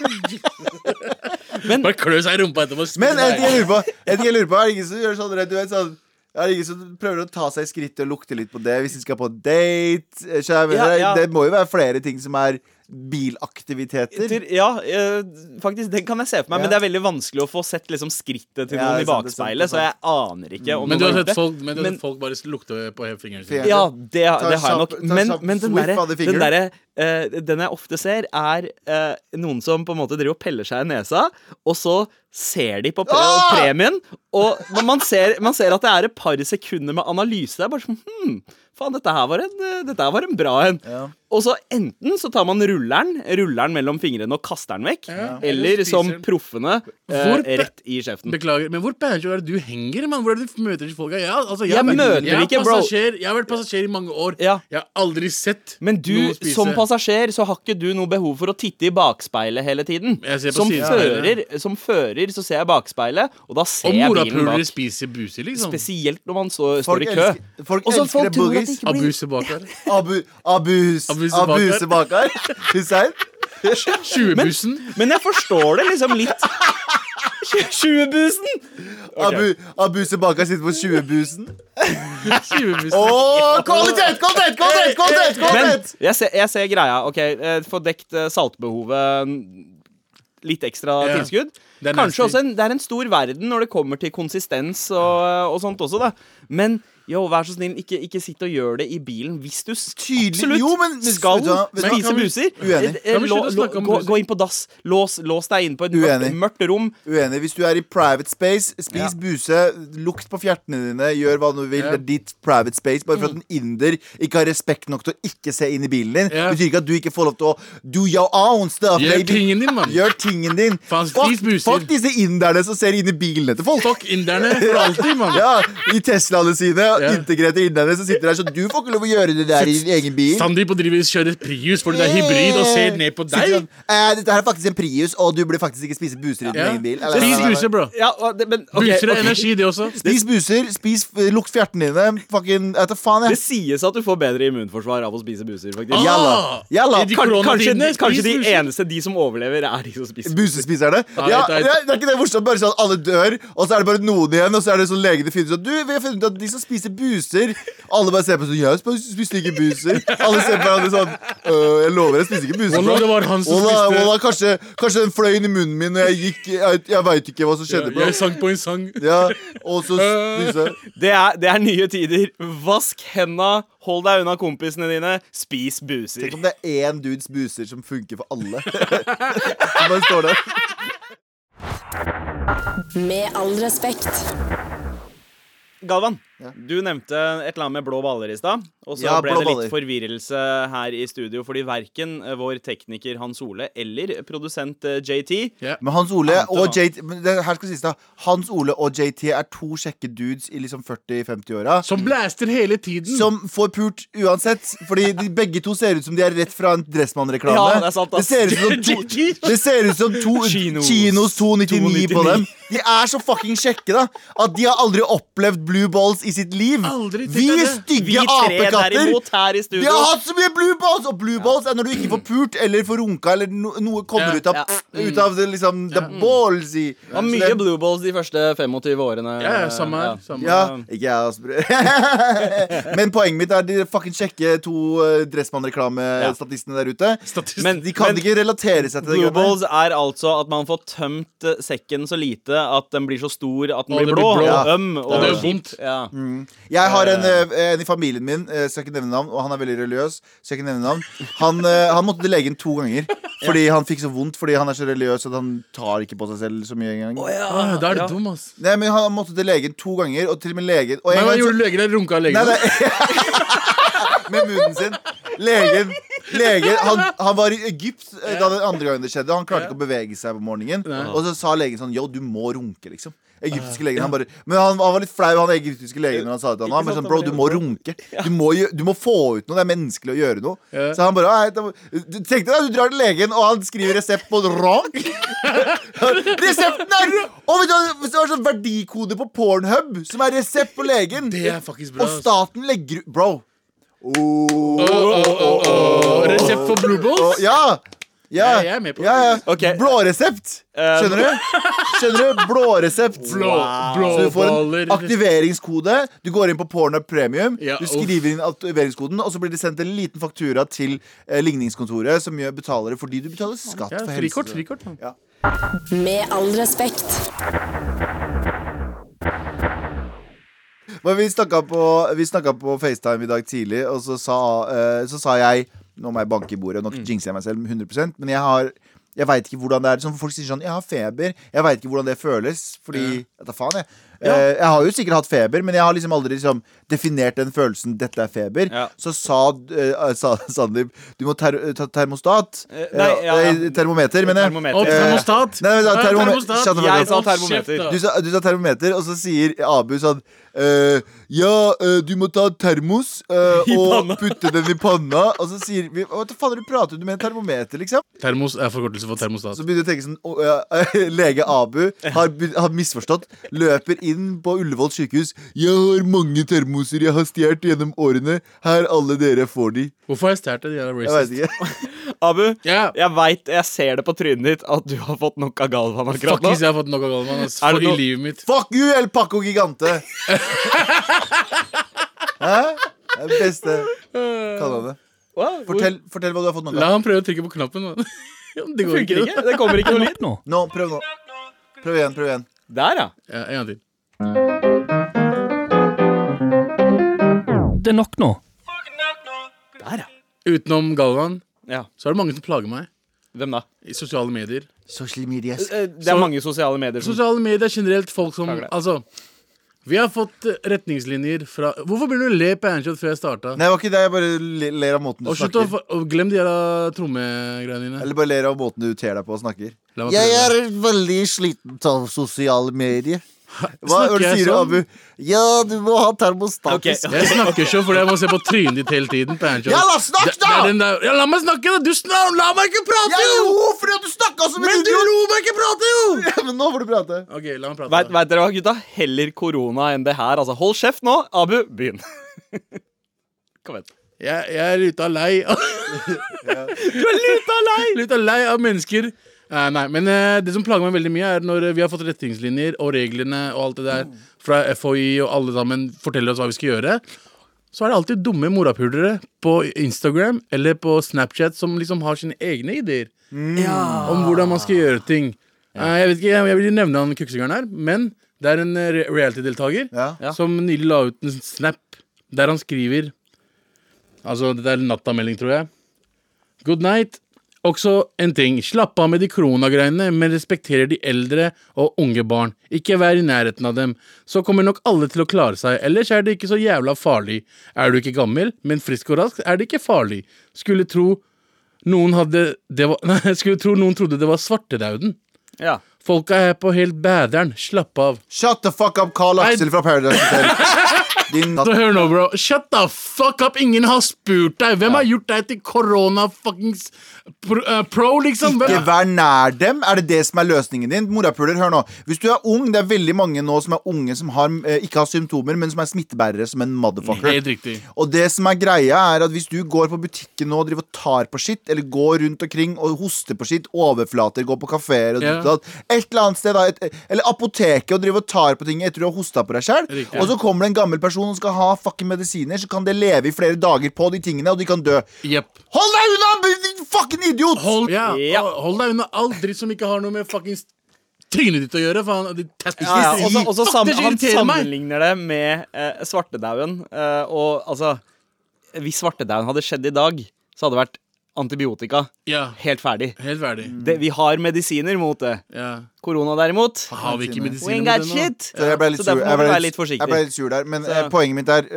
D: Bare klø seg i rumpa etterpå. og spise
C: Men en ting jeg
D: negler.
C: lurer på, en ting jeg lurer på er det ingen som gjør sånn rett, du vet, sånn er det ingen som prøver å ta seg i skrittet og lukte litt på det hvis de skal på date? eh, så jeg mener,
B: Ja, ja.
C: Det må jo være flere ting som er bilaktiviteter.
B: Til- Ja, eh, faktisk, den kan jeg se for meg,
C: Ja.
B: men det er veldig vanskelig å få sett liksom, skrittet til
C: Ja,
B: noen
C: det
B: i
C: er sant, det er sant, det er
B: bakspeilet, så jeg aner ikke om
D: Men du
B: noen
D: har
B: gjort
D: sett
B: det.
D: folk, men du har
B: Men-
D: sett folk bare lukte på fingeren sin.
C: Fingeren.
B: Ja, det, det har jeg
C: kjapp-
B: nok.
C: ta
B: Men,
C: kjapp
B: men den
C: swiff
B: derre
C: av the finger.
B: den, derre, eh, den jeg ofte ser, er eh, noen som på en måte driver og peller seg i nesa, og så ser de på pre
C: Ah!
B: premien, og men man ser, man ser at det er et par sekunder med analyse. Det er bare sånn Hm, faen, dette her var en, eh, dette her var en bra en.
C: Ja.
B: Og så enten så tar man rulleren, rulleren mellom fingrene og kaster den vekk, eller
D: Eller
B: som
D: spiser den.
B: proffene, eh,
D: Hvor pe-
B: rett i kjeften.
D: Beklager, men hvor banjo er det du henger, mann? Hvor er det du møter folka? Ja, altså,
B: Jeg
D: har vært-
B: møter
D: jeg er
B: ikke, bro.
D: Passasjer, jeg har vært passasjer i mange år.
B: Ja.
D: Jeg har aldri sett
B: Men du
D: noen spise.
B: som passasjer så har ikke du noe behov for å titte i bakspeilet hele tiden.
D: Jeg ser på
B: Som
D: siden.
B: fører, som fører så ser jeg bakspeilet, og da ser
D: Og
B: jeg bilen
D: morapulere
B: bak.
D: spiser buser, liksom.
B: Spesielt når man så,
C: Folk
B: står i kø.
C: elsker- folk
B: Og så
C: elsker
B: folk
C: det,
B: tror at
C: boogers.
B: det ikke blir
D: Abuse bak der.
C: Abu, abus,
D: Abuse
C: abuse bakar. Hussein?
D: 20-bussen.
B: Men jeg forstår det liksom litt. 20-bussen!
C: Abu, abuse bakar sitter på 20-busen.
D: 20-bussen.
C: Å, kvalitet, kvalitet, kvalitet!
B: Men
C: kvalitet, kvalitet.
B: jeg ser, jeg ser greia. Ok, eh, Få dekt eh, saltbehovet mm, litt ekstra
D: Ja.
B: tilskudd.
D: Det er nasty.
B: Kanskje også en, det er en stor verden når det kommer til konsistens og, og sånt også, da. Men yo, vær så snill, ikke, ikke sitt og gjør det i bilen hvis du s-
C: Tydelig-
B: absolutt
C: jo, men-
B: skal
C: vet du hva, vet du hva,
B: spise
C: kan vi-
B: buser.
C: Uenig.
B: Eh, eh,
D: Kan
B: lå-
D: vi slutte å
B: lå-
D: snakke om
B: gå,
D: buser?
B: gå inn på dass, lås, lås deg inn på et mørkt,
C: Uenig.
B: mørkt rom.
C: Uenig. Hvis du er i private space, spis
B: Ja.
C: buse, lukt på fjertene dine, gjør hva du vil.
D: Ja. Mm.
C: Det er ditt private space. Bare for at en inder ikke har respekt nok til å ikke se inn i bilen din,
D: Ja.
C: betyr ikke at du ikke får lov til å do your own stuff.
D: Gjør
C: baby.
D: tingen din, mann.
C: Gjør tingen din.
D: Faen, spis
C: Fuck,
D: buser.
C: fuck disse inderne som ser inn i bilene til folk.
D: Fuck inderne for alltid, mann.
C: Ja, I Teslaene sine,
D: Ja.
C: integrerte inderne som sitter der, så du får ikke lov å gjøre det der i din egen bil.
D: Sandeep og driver og kjører Prius fordi det er hybrid og ser ned på
C: Sitter
D: deg.
C: sånn, «Eh, Dette her er faktisk en Prius, og du burde faktisk ikke spise buser i din
D: Ja.
C: egen bil.
D: Spis buser, bro.
B: Ja, og det, men ok,
D: Buser
B: ok.
D: er energi, det også.
C: Spis buser, spis, eh, lukt fjertene dine. Fucking, jeg vet da faen,
B: Det
C: jeg.
B: sies at du får bedre immunforsvar av å spise buser, faktisk.
D: Ah,
C: Jalla. Jalla.
D: i de
B: Kan- kanskje,
D: koronatidene, spis
B: kanskje de
D: buser.
B: eneste de som overlever, er de som spiser
C: Busespiserne?
D: Nei,
C: Ja,
D: nei.
C: det er det er ikke det morsomt? Bare sånn alle dør, og så er det bare noen igjen, og så er det sånn legene finner ut sånn Du, vi har funnet ut at de som spiser buser Alle bare ser på sånn Jeg sp- spiste ikke buser. Alle ser på hverandre sånn «Øh, Jeg lover, jeg spiste ikke buser.
D: Wallah,
C: bro.»
D: det var han som
C: Wallah,
D: spiste-
C: wallah, kanskje, kanskje den fløy inn i munnen min, og jeg gikk Jeg, jeg veit ikke hva som skjedde, bro.
D: Jeg Øh. sang på en sang.
C: Ja, og så spiste
B: Det er, det er nye tider. Vask henda, hold deg unna kompisene dine, spis buser.
C: Tenk om det er én dudes buser som funker for alle. Som bare står der.
A: Med all respekt.
B: Galvan,
C: Ja.
B: du nevnte et eller annet med blå baller i stad. Og så
C: Ja,
B: ble
C: blå
B: det litt
C: baller.
B: forvirrelse her i studio, fordi verken eh, vår tekniker Hans Ole eller produsent eh, JT
D: Ja.
C: Men Hans Ole
B: Ante
C: og
B: hva?
C: JT men det her skal sies da Hans Ole og JT er to kjekke dudes i liksom 40-50-åra.
D: Som blaster hele tiden.
C: Som får pult uansett, fordi de begge to ser ut som de er rett fra en Dressmann-reklame.
B: Ja, det er sant,
C: det,
B: ass.
C: ser ut som to, det ser ut som to
B: Chinos.
C: Chinos 299 på
B: 299.
C: dem. De er så fucking kjekke, da, at de har aldri opplevd blue balls i sitt liv.
D: Aldri tenkt
C: Vi
D: deg det.
B: Vi
C: stygge
B: tre
C: apekatter
B: derimot her i
C: de har
B: studio
C: hatt så mye blue balls! Og blue balls er når du ikke får pult eller får runka eller no noe kommer
D: Ja,
C: ut av,
B: ja.
C: ut av det, liksom, the balls i.
B: var mye blue balls de første 25 årene.
D: Ja, ja, samme her.
B: Ja.
D: Samme.
C: Ja, ikke jeg, altså. bror. Men poenget mitt er de fucking kjekke to eh, Dressmann-reklamestatistene der ute.
D: Statist.
B: Men-
C: De kan
B: men-
C: ikke relatere seg til det.
B: Blue
C: greiene.
B: balls er altså at man får tømt eh, sekken så lite at den blir så stor at den
D: Og
B: blir
D: det
B: blå
D: blir blå.
B: og
C: Ja.
B: øm. Og
D: Det er jo Mm.
B: kjipt.
D: vondt.
B: Ja.
C: Jeg har en, eh, en i familien min, eh, skal ikke nevne navn, og han er veldig religiøs. Skal ikke nevne navn Han, eh, han måtte til legen to ganger fordi han fikk så vondt fordi han er så religiøs at han tar ikke på seg selv så mye engang.
D: Ah, da er du
B: Ja.
D: dum, ass.
C: Nei, men Han måtte til legen to ganger, og til og med legen og en
D: Men hva
C: gang så-
D: gjorde legen der? Runka legen?
C: Nei, nei. Med munnen sin. Legen, legen han, han var i Egypt eh, da den andre gangen det skjedde. og Han klarte ikke å bevege seg på morgenen. Og så sa legen sånn Yo, du må runke, liksom. Egyptiske
D: Ah,
C: legen, han bare Men han, han var litt flau, han egyptiske legen, når han sa det til han. Han bare sånn Bro, du må runke. Du må, gjø- du må få ut noe. Det er menneskelig å gjøre noe.
D: Ja.
C: Så han bare «Nei, det må- du- Tenk deg da, du drar til legen, og han skriver resept på rank. Resepten er Og vet du hva, det var sånn verdikode på Pornhub, som er resept på legen.
D: Det er faktisk bra.
C: Og staten legger ut Bro.
D: Oh. Og Resept for blue
C: Og,
D: balls?
C: ja! Ja,
D: Jeg er med på det.
C: ja, ja.
B: Ok.
C: Blåresept.
B: Eh,
C: Skjønner du? Skjønner du? Blåresept.
D: Blå, blå
C: Så du får en
D: baller.
C: aktiveringskode. Du går inn på Pornhub Premium.
D: Ja,
C: Du
D: uff.
C: skriver inn aktiveringskoden, og så blir det sendt en liten faktura til eh, ligningskontoret, som gjør betalere fordi du betaler skatt
D: Ja,
C: for
D: frikort,
B: altså.
C: helse.
D: frikort. mann.
A: Med all respekt.
C: Men vi snakka på, vi snakket på FaceTime i dag tidlig, og så sa, eh, så sa jeg Nå må jeg banke i bordet,
B: Mm.
C: nå jinxer jeg meg selv 100 men jeg har jeg veit ikke hvordan det er. Sånn, folk sier sånn 'Jeg har feber'. Jeg veit ikke hvordan det føles. Fordi ja. da faen, jeg. Eh, jeg har jo sikkert hatt feber, men jeg har liksom aldri liksom, definert den følelsen 'dette er feber'.
B: Ja.
C: Så sa, eh, sa Sandeep 'du må ter ta termostat'.
B: Eh, nei,
C: Eh,
B: ja, ja.
C: Termometer, mener jeg.
B: Termometer.
D: Og termostat.
C: Nei, men da,
D: Ja,
C: termome- Shut the fuck
B: eh, Jeg
C: up.
B: sa
D: Hold kjeft,
B: termometer.
D: da.
C: Du sa, du sa termometer, og så sier Abu sånn eh, Ja, eh, du må ta termos eh,
B: I
C: og
B: panna.
C: putte den i panna. Og så sier vi Hva faen er det du prater om? Du mener termometer, liksom?
D: Termos er forkortelse for termostat.
C: Så begynner jeg å tenke sånn å, ja, Lege Abu har, be- har misforstått. Løper inn på Ullevål sykehus. 'Jeg har mange termoser jeg har stjålet gjennom årene. Her alle dere får de.'
D: Hvorfor har jeg stjålet det? Jeg er
C: Jeg
D: racist.
C: vet ikke.
B: Abu,
D: Ja.
B: jeg veit, jeg ser det på trynet ditt at du har fått nok av Galvan akkurat
D: Fuck,
B: nå.
D: hvis jeg har fått nok av Galvan ass,
B: Er det
D: for i
B: noe-
D: livet mitt.
C: Fuck you, El Paco Gigante! Hæ? Det er det beste. Kall han det.
B: Wow, hvor-
C: Fortell, fortell hva du har fått nå.
D: La han prøve å trykke på knappen. mann. det går
B: Funker
D: ikke.
B: ikke? Det kommer ikke noe lyd nå.
C: Nå, prøv nå. Prøv igjen, prøv igjen.
B: Der, ja.
D: Ja, en gang til.
E: Det er nok nå.
B: Der, ja.
D: Utenom Galvan,
B: ja.
D: så er det mange som plager meg.
B: Hvem da?
D: I sosiale medier.
C: Social media.
B: Eh, Det er
D: Så-
B: mange sosiale medier. Som,
D: Sosiale medier er generelt folk som
B: Plager deg.
D: Altså, vi har fått eh, retningslinjer fra Hvorfor begynner du å le på Anshot før jeg starta?
C: Nei, det var ikke det. Jeg bare le- ler av måten du
D: Og slutt å
C: snakker
D: fa- og glem de jævla trommegreiene dine.
C: Eller bare ler av måten du ter deg på og snakker.
D: La meg
C: Jeg
D: prøve.
C: er veldig sliten av sosiale medier. Hva
D: Snakker
C: er det du
D: jeg
C: sier,
D: sånn?
C: Abu? Ja, du må ha termostatisk
B: Ok,
D: Jeg snakker ikke fordi jeg må se på trynet ditt hele tiden. på Anshot.
C: Ja, la snakk
D: Det-
C: da!
D: det er den der- Ja, la meg snakke, da! Du snar, la meg ikke prate,
C: Jeg
D: jo!
C: lo fordi at du snakka som en
D: Men du
C: idiot!
D: lo meg ikke prate, jo!
C: Ja, men nå får du prate.
D: OK, la meg prate.
B: Vet,
D: da.
B: vet dere hva, gutta? Heller korona enn det her. Altså, hold kjeft nå. Abu, begynn. Kom igjen.
D: Jeg, jeg er luta lei av-
B: Du er luta lei!
D: Luta lei av mennesker. Eh, nei, men eh, det som plager meg veldig mye, er når eh, vi har fått retningslinjer og reglene og alt det der fra FHI og alle sammen forteller oss hva vi skal gjøre. Så er det alltid dumme morapulere på Instagram eller på Snapchat som liksom har sine egne ideer
B: Mm.
D: om hvordan man skal gjøre ting. Eh, jeg vet ikke, jeg, jeg vil ikke nevne han kuksingeren her, men det er en eh, re- reality-deltaker
C: Ja.
B: Ja.
D: som nylig la ut en snap der han skriver Altså, dette er nattamelding, tror jeg. Good night. Også en ting. Slapp av med de koronagreiene, men respekterer de eldre og unge barn. Ikke vær i nærheten av dem. Så kommer nok alle til å klare seg. Ellers er det ikke så jævla farlig. Er du ikke gammel, men frisk og rask, er det ikke farlig. Skulle tro noen hadde det var, Nei, skulle tro noen trodde det var svartedauden.
B: Ja.
D: Folka er på helt bæderen. Slapp av.
C: Shut the fuck up, Carl Axel fra Paradise Hotel. Din
D: Så hør nå, bro. Shut the fuck up! Ingen har spurt deg! Hvem har gjort deg til korona-fuckings pro, eh, pro, liksom?
C: Ikke
D: Hvem?
C: vær nær dem. Er det det som er løsningen din? Morapuler, hør nå. Hvis du er ung, det er veldig mange nå som er unge som har, eh, ikke har symptomer, men som er smittebærere som en motherfucker.
D: Helt riktig.
C: Og det som er greia er at hvis du går på butikken nå og driver og tar på skitt, eller går rundt omkring og hoster på skitt, overflater, går på kafeer og
D: Ja.
C: ditt og datt, et eller annet sted, da, et, eller apoteket og driver og tar på ting etter du har hosta på deg sjøl,
D: Riktig.
C: og så kommer det en gammel person som skal ha fucking medisiner, så kan det leve i flere dager på de tingene, og de kan dø.
D: Jepp.
C: Hold deg unna, din fucking idiot!
D: Hold, ja,
B: Ja.
D: og hold deg unna all dritt som ikke har noe med fuckings trynet ditt å gjøre. Faen, ditt tass-
B: Ja, ja. Også, også
D: Fuck,
B: sam
D: det
B: han
D: irriterer meg!
B: sammenligner det med eh, svartedauden. eh, og altså Hvis svartedauden hadde skjedd i dag, så hadde det vært antibiotika.
D: Ja,
B: Helt ferdig.
D: helt ferdig.
B: Det, vi har medisiner mot det.
D: Ja.
B: Korona derimot
D: Har vi ikke
B: We
D: medisiner
B: ain't got shit.
C: Så jeg ble litt
B: Så
C: sur.
B: derfor må
C: Jeg
B: vi
C: ble
B: være
C: litt-
B: litt forsiktig.
C: Jeg ble litt sur der, men
B: Så-
C: eh, poenget mitt er øh,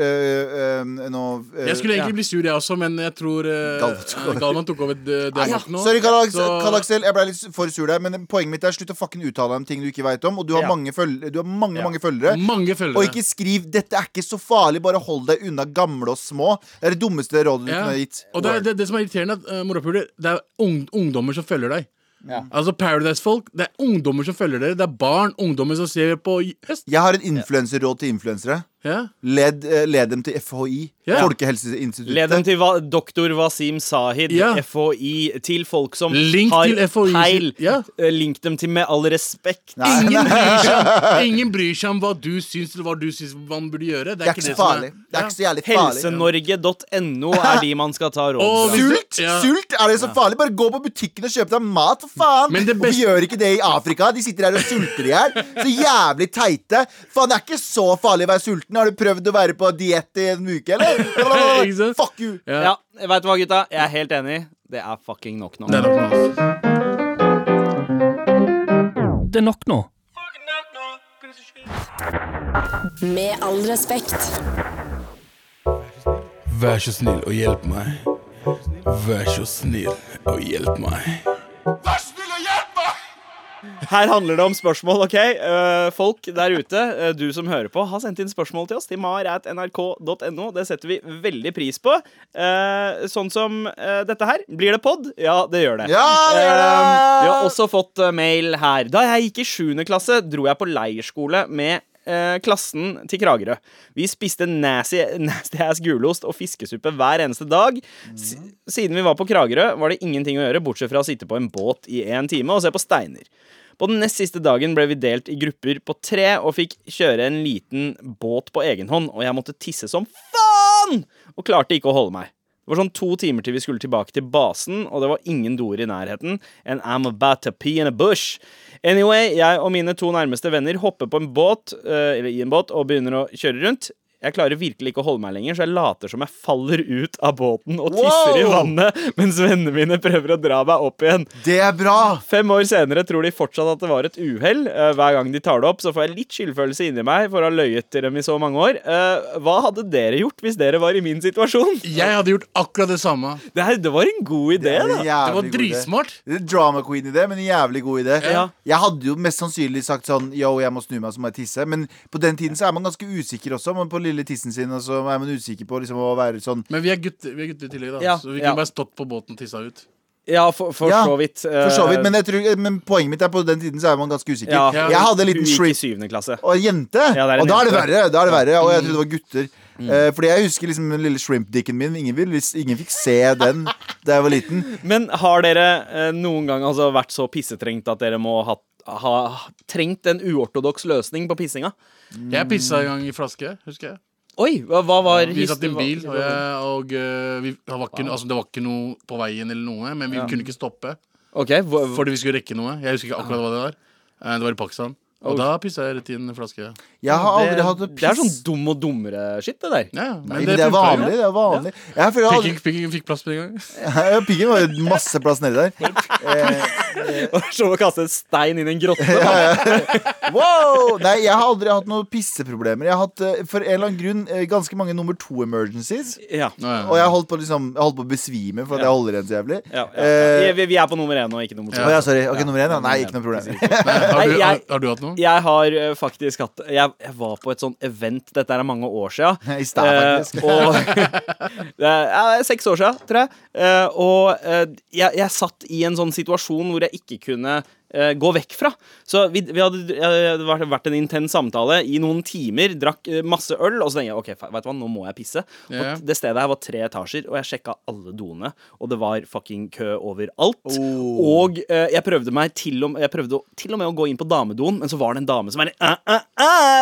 C: øh, Nå øh,
D: Jeg skulle egentlig
B: Ja.
D: bli sur, jeg også, men jeg tror eh,
C: Galvan tok over.
D: Galvan tok over eh,
B: Ah,
D: Danmark nå.
C: Sorry, Karl Aks-
D: Så-
C: Karl Aksel. Jeg ble litt for sur der. Men poenget mitt er slutt å fucking uttale deg om ting du ikke veit om. Og du har
B: Ja.
C: mange, føl du har mange, mange følgere.
D: Mange
C: Og
D: følgere.
C: ikke skriv 'dette er ikke så farlig', bare hold deg unna gamle og små. Det er det dummeste rådet du
D: Ja.
C: kunne ha gitt.
D: Og det, er- det, det som er irriterende, er at eh, morapuler, det er ung, ungdommer som følger deg.
B: Ja.
D: Altså Paradise-folk, det er ungdommer som følger dere. Det er barn, ungdommer som ser på i- høst.
C: Jeg har et influenserråd til influensere.
D: Ja.
C: Led, eh, led dem til FHI,
D: Ja.
C: Folkehelseinstituttet.
B: Led dem til va doktor Wasim Sahid,
D: Ja.
B: FHI, til folk som
D: Link
B: har
D: til FHI.
B: peil.
D: Ja.
B: Eh, Link dem til Med all respekt.
C: Nei,
D: Ingen bryr, seg, om- ingen bryr seg om hva du syns eller hva du syns man burde gjøre. Det
C: det er
D: er ikke
C: ikke
D: det
C: så
D: som er
C: farlig. Det er ikke så jævlig farlig.
B: Helsenorge.no er de man skal ta
D: Og
B: råd fra.
D: hvis-
C: Sult!
D: Ja.
C: Sult! Er det så farlig? Bare gå på butikken og kjøp deg mat, for faen!
D: Men det
C: Hvorfor
D: beste-
C: gjør ikke det i Afrika? De sitter her og sulter i hjel. Så jævlig teite. Faen, det er ikke så farlig å være sulten. Har du prøvd å være på diett i en uke,
D: Ikke sant?
C: eller? Fuck you!
D: Ja.
B: Ja, vet du hva, gutta? Jeg er helt enig. Det er fucking nok nå.
D: Det er nok nå, ass.
E: Det er nok nå.
A: Med all respekt.
D: Vær så snill og hjelp meg. Vær så snill og hjelp meg.
B: Her handler det om spørsmål, OK? Eh, folk der ute, eh, du som hører på, har sendt inn spørsmål til oss til mar.nrk.no. Det setter vi veldig pris på. Eh, sånn som eh, dette her. Blir det pod? Ja, det gjør det.
C: Ja, det gjør det!
B: Eh, vi har også fått eh, mail her. Da jeg gikk i 7. klasse, dro jeg på leirskole med eh, klassen til Kragerø. Vi spiste nasty, nasty ass gulost og fiskesuppe hver eneste dag. S siden vi var på Kragerø, var det ingenting å gjøre, bortsett fra å sitte på en båt i en time og se på steiner. På den nest siste dagen ble vi delt i grupper på tre og fikk kjøre en liten båt på egen hånd, og jeg måtte tisse som faen! Og klarte ikke å holde meg. Det var sånn to timer til vi skulle tilbake til basen, og det var ingen doer i nærheten. And I'm about to pee in a bush. Anyway, jeg og mine to nærmeste venner hopper på en båt, eh, eller i en båt, og begynner å kjøre rundt. Jeg klarer virkelig ikke å holde meg lenger, så jeg later som jeg faller ut av båten og tisser i
C: Wow!
B: vannet, mens vennene mine prøver å dra meg opp igjen.
C: Det er bra!
B: Fem år senere tror de fortsatt at det var et uhell. Eh, Hver gang de tar det opp, så får jeg litt skyldfølelse inni meg for å ha løyet til dem i så mange år. Eh, Hva hadde dere gjort hvis dere var i min situasjon?
D: Jeg hadde gjort akkurat det samme.
B: Det, her, det var en god idé,
C: er en
B: da.
D: Det var
C: jævlig god idé.
D: dritsmart.
C: Det er en drama queen-idé, men en jævlig god idé.
B: Ja.
C: Jeg hadde jo mest sannsynlig sagt sånn Yo, jeg må snu meg, så må jeg tisse. Men på den tiden så er man ganske usikker også. Man på lille tissen sin, og så er man usikker på liksom, å være sånn
D: Men vi er gutter, vi er gutter i tillegg, da.
B: Ja,
D: Så vi
B: ja.
D: kunne bare stått på båten og tissa ut.
B: Ja, for, for
C: Ja,
B: så vidt. eh,
C: For så vidt. Men, jeg tror, men poenget mitt er på den tiden så er man ganske usikker.
B: ja,
D: Ja.
C: Jeg hadde en
B: Du
C: liten
B: gikk i
C: shrimp
B: syvende klasse.
C: og en jente.
B: Ja, det er en
C: og da er
B: jente.
C: det
B: Mm.
C: verre. Da er det verre Og jeg trodde det var gutter. Eh, fordi jeg husker liksom den lille shrimp-dicken min. Ingen, vil, hvis ingen fikk se den da jeg var liten.
B: Men har dere eh, noen gang altså, vært så pissetrengt at dere må ha, ha trengt en uortodoks løsning på pissinga?
D: Jeg pissa en gang i flaske, husker jeg.
B: Oi, hva, hva var
D: Vi satt i en
B: his-
D: bil, og, jeg, og øh, vi, det, var ikke, no- altså, det var ikke noe på veien eller noe, men vi kunne ikke stoppe
B: Ok, hva,
D: fordi vi skulle rekke noe. Jeg husker ikke akkurat hva det var. Eh, Det var i Pakistan. Og da pissa jeg rett i en flaske.
C: Jeg har aldri
B: det,
C: hatt noe
B: det er sånn
C: piss.
B: dum og dummere-shit, det der.
D: Ja, ja, men
C: Nei, men det er
D: funka jo.
C: vanlig. Det er vanlig. Jeg føler jeg
D: Fikk,
C: aldri-
D: ikke- fikk, ikke- fikk plass på det engang.
C: Ja, Piggen var jo masse plass nedi der. Eh,
B: Det var som å kaste en stein inn i en grotte.
C: wow! Nei, jeg har aldri hatt noen pisseproblemer. Jeg har hatt eh, for en eller annen grunn eh, ganske mange nummer to emergencies.
B: Ja.
C: Og jeg holdt på, liksom, jeg holdt på å besvime for at jeg holder igjen så jævlig.
B: Ja, ja,
C: Eh,
B: ja. Vi, vi er på nummer én og ikke nummer to.
C: Å ja, sorry. Ok, nummer én? Ja. Nei, ikke noe problem.
D: har, du,
B: Nei,
D: har,
B: jeg-
D: har du hatt
C: Mm.
D: noe?
B: Jeg har eh, faktisk hatt jeg, jeg var på et sånn event, dette er mange år sia.
C: I stad, faktisk.
B: og det er, ja, Seks år sia, tror jeg. Eh, og eh, jeg, jeg satt i en sånn situasjon hvor jeg ikke kunne eh, gå vekk fra. Så vi, vi hadde, eh, det hadde vært en intens samtale i noen timer, drakk eh, masse øl, og så tenkte jeg OK, fe- vet du hva, nå må jeg pisse.
D: Ja.
B: Og det stedet her var tre etasjer, og jeg sjekka alle doene, og det var fucking kø overalt. Og eh, jeg prøvde meg til og, jeg prøvde å- til og med å gå inn på damedoen, men så var det en dame som bare uh,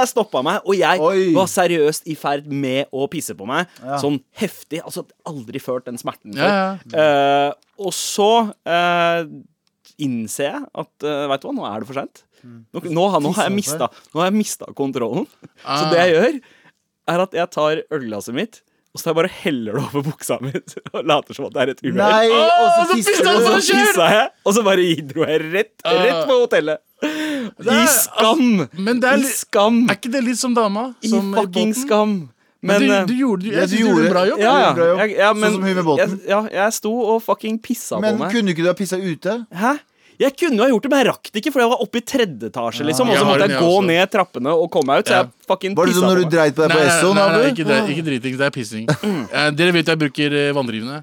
B: stoppa meg, og jeg
C: Oi.
B: var seriøst i ferd med å pisse på meg. Sånn heftig. Altså aldri følt den smerten før.
D: Ja,
B: Eh, og så eh, innser jeg at uh, Veit du hva, nå er det for seint.
C: Mm.
B: Nå, nå, har- nå har jeg mista- nå har jeg mista kontrollen. Så
D: Ah.
B: det jeg gjør, er at jeg tar ølglasset mitt, og så tar jeg bare og heller det over buksa mi og later som at det er et
C: Nei,
B: uhell.
C: og
D: så
C: så
D: pisset
C: tisser
D: han
B: Så
C: du.
D: sånn. skjer?
B: pissa jeg, og så bare dro jeg rett, rett på hotellet. I
D: er-
B: skam!
D: men det er
B: I
D: litt-
B: skam!
D: Er ikke det litt som dama?
B: I
D: som
B: fucking
D: båten?
B: skam! Men,
D: du,
B: eh,
D: du gjorde, jeg
C: Ja, du
D: synes du gjorde en
C: gjorde-
D: bra jobb.
B: ja, ja,
C: bra jobb.
B: jeg, ja,
C: Sånn
B: men,
C: som hun med båten.
B: Jeg, ja, jeg sto og fucking pissa
C: Men
B: på meg.
C: kunne ikke du ha pissa ute?
B: Hæ? Jeg kunne ha gjort det, men jeg rakk det ikke, for jeg var oppe i tredje etasje. liksom Og
D: Jeg
B: så
D: har
B: måtte
D: den,
B: jeg
D: jeg
B: gå
D: også.
B: ned trappene og komme meg ut. Så
D: Ja.
B: jeg fucking
C: Var det
B: pissa
C: sånn når
B: på
C: du
B: meg.
C: dreit på deg
D: Nei,
C: på
D: nei,
C: Esso?
D: nei, nei,
C: nabo?
D: ikke, det, ikke driting, det er pissing.
B: Mm.
D: Eh, dere vet jo jeg bruker eh, vanndrivende.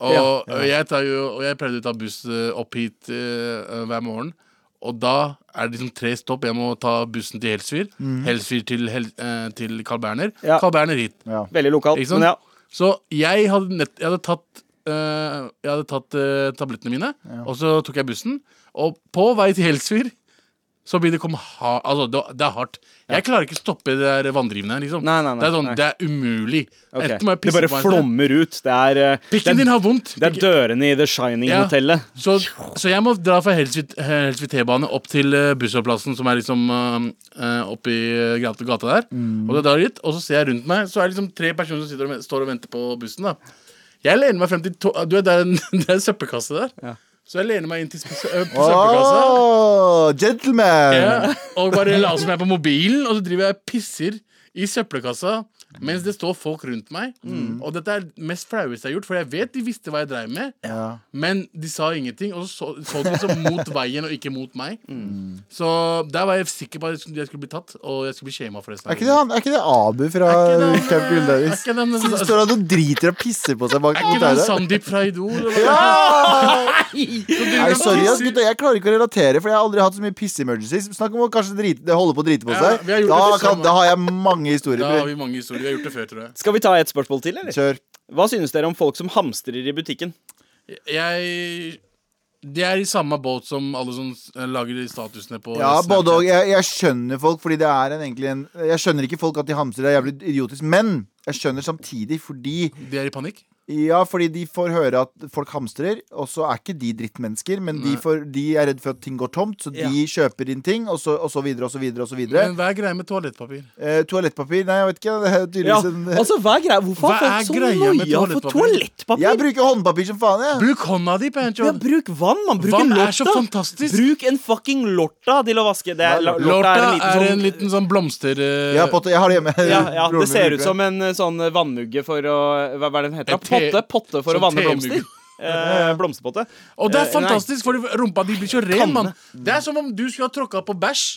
D: Og, og jeg, tar jo, og jeg pleide å ta buss eh, opp hit eh, hver morgen. Og da er det liksom tre stopp. Jeg må ta bussen til Helsfyr. Helsfyr til, Hel eh, til Carl Berner.
B: Mm. Ja.
D: Carl Berner hit.
C: Ja.
B: Veldig lokalt.
D: Ikke sant?
B: Men ja.
D: Så jeg hadde, nett, jeg hadde tatt, eh, jeg hadde tatt eh, tablettene mine, og så tok jeg bussen. Og på vei til Helsfyr så blir det kom ha, altså, det, det er hardt. Jeg klarer ikke å stoppe det der vanndrivende. her, Liksom.
B: Nei, nei, nei,
D: det, er sånn,
B: nei.
D: det er umulig.
B: ok.
D: Enten må jeg
B: Det
D: pisse
B: bare
D: på meg selv.
B: flommer ut. Det er, eh, det
D: Pikken
B: er,
D: din har vondt.
B: det er
D: Pikken-
B: dørene i The Shining-hotellet.
D: Så, så jeg må dra fra Helsvik Helsvik T-bane opp til eh, bussholdeplassen, som er liksom oppi eh, gata, gata der. Og da drar jeg dit, og så ser jeg rundt meg, så er det liksom tre personer som sitter og, ven- står og venter på bussen. da Jeg lener meg frem til to Du vet, det er en, det er en søppelkasse der. Så jeg lener meg inn til spes- ø, på søppelkassa.
C: Åh, gentleman!
D: Ja, og bare later som jeg er på mobilen, og så driver jeg og pisser i søppelkassa mens det står folk rundt meg. Og dette er det mest flaueste jeg har gjort, for jeg vet de visste hva jeg dreiv med. Men de sa ingenting, og så så så de liksom mot veien og ikke mot meg.
C: Mm.
D: Så der var jeg sikker på at jeg skulle- jeg skulle bli tatt, og jeg skulle bli shama for resten
C: Er ikke det, han, er ikke det eh, Abu fra Camp
D: eh,
C: Gulldaus?
D: Er ikke den,
C: Så står han og driter og pisser på seg bak
D: altså, ikke den
C: hotellet.
D: Sandeep fra Idol? eller?
C: Nei, sorry, ass, gutta. Jeg klarer ikke å relatere, for jeg har aldri hatt så mye pisse-emergencies. Snakk om å kanskje drite, det holder på å drite på
D: Ja,
C: seg.
D: vi har gjort
C: da,
D: det
C: kan,
D: samme.
C: da har jeg mange
D: Da har
C: historier.
D: vi mange historier. Vi har gjort det før, tror jeg.
B: Skal vi ta et spørsmål til, eller?
C: Kjør.
B: Hva synes dere om folk som hamstrer i butikken?
D: jeg De er i samme båt som alle som s- eh, lager statusene på
C: Ja,
D: Snapchat.
C: både og. Jeg, jeg skjønner folk, fordi det er en, egentlig en Jeg skjønner ikke folk at de hamstrer er jævlig idiotisk, men jeg skjønner samtidig fordi
D: De er i panikk?
C: Ja, fordi de får høre at folk hamstrer, og så er ikke de drittmennesker, men de, får, de er redd for at ting går tomt, så de
B: Ja.
C: kjøper inn ting, og så, og så videre, og så videre, og så videre.
D: Men hva er greia med toalettpapir?
C: Eh, toalettpapir? Nei, jeg vet ikke. Det er
B: Ja,
C: tydeligvis en
B: altså, hva er greia? Hvorfor
D: Hva er
B: har folk så
D: greia med
B: noia for
D: toalettpapir?
B: toalettpapir?
C: Jeg bruker håndpapir som faen, jeg.
D: Bruk hånda di, Pancho.
B: ja, bruk vann, man. Bruk
D: Vann
B: en
D: er
B: lorta.
D: så fantastisk.
B: Bruk en fucking lorta til å vaske. Det er, lorta,
D: Lorta
B: er en liten sånn
D: sånn blomster...
C: Jeg
D: eh,
C: har, potte, jeg har det hjemme.
B: ja, ja,
C: Broren min
B: Det ser
C: bruker
B: ut som en eh, sånn vannmugge for å Hva hva er det den heter?
D: En
B: da?
D: te-
B: Potte, potte for
D: sånn
B: å vanne
D: temugge.
B: blomster. Eh, blomsterpotte.
D: Og det
B: Eh,
D: er fantastisk, for rumpa di blir så ren, mann. Det er som om du skulle ha tråkka på bæsj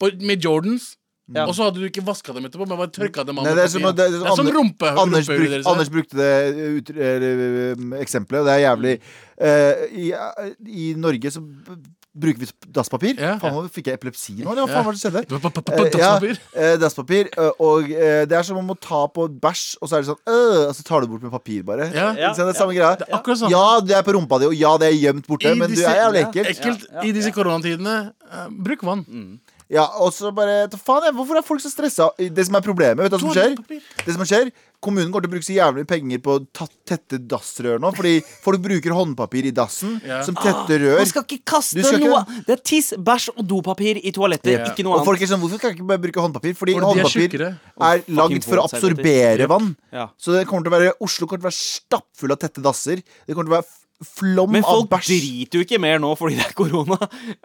D: på- med Jordans.
B: Ja.
D: Og så hadde du ikke vaska dem etterpå, men bare tørka dem av.
C: Nei,
D: med
C: det er som,
D: papir.
C: det er som Ander-
D: rumpe,
C: Anders,
D: rumpehullet
C: bruk,
D: deres er.
C: Anders brukte det uh, ut, eller, um, eksempelet, og det er jævlig. Eh, i, eh, I Norge så b- bruker vi dasspapir.
D: Ja.
C: Faen, nå fikk jeg epilepsi nå, eller hva faen var det som skjedde?
D: Du var på- på- på- på
C: Eh, ja,
D: dasspapir.
C: eh, dasspapir. eh, og eh, det er som om å ta på et bæsj, og så er det sånn øh, Og så tar du bort med papir, bare.
D: Ja.
C: Ikke sant? det er samme greia.
D: er akkurat sånn.
C: Ja, det er på rumpa di, og ja, det er gjemt borte,
D: I
C: men du
D: disse-
C: er jævlig ekkelt. Mm.
D: Ekkelt
B: Ja, ja,
D: i disse koronatidene. eh, bruk vann.
C: Ja, og så bare ta faen jeg, Hvorfor er folk så stressa? Det som er problemet, vet du hva som skjer?
D: Toalettpapir.
C: Det som skjer Kommunen går til å bruke så jævlig mye penger på å ta- tette dassrør nå, fordi folk bruker håndpapir i dassen
D: Ja.
C: som tetter rør.
B: Man Ah, skal ikke kaste
C: Du skal ikke-
B: noe Det er tiss, bæsj og dopapir i toaletter.
D: Ja.
B: Ikke noe
C: Og
B: annet.
C: folk er sånn, Hvorfor kan jeg ikke bare bruke håndpapir? Fordi,
D: Fordi de er
C: håndpapir
D: tjukkere.
C: er
B: fucking
C: lagd for å
B: våtservietter.
C: absorbere vann.
B: Ja.
C: Så det kommer til å være Oslo kommer til å være stappfull av tette dasser. Det kommer til å være f- flom
B: Men
C: av
B: folk
C: bæsj.
B: driter jo ikke mer nå fordi det er korona.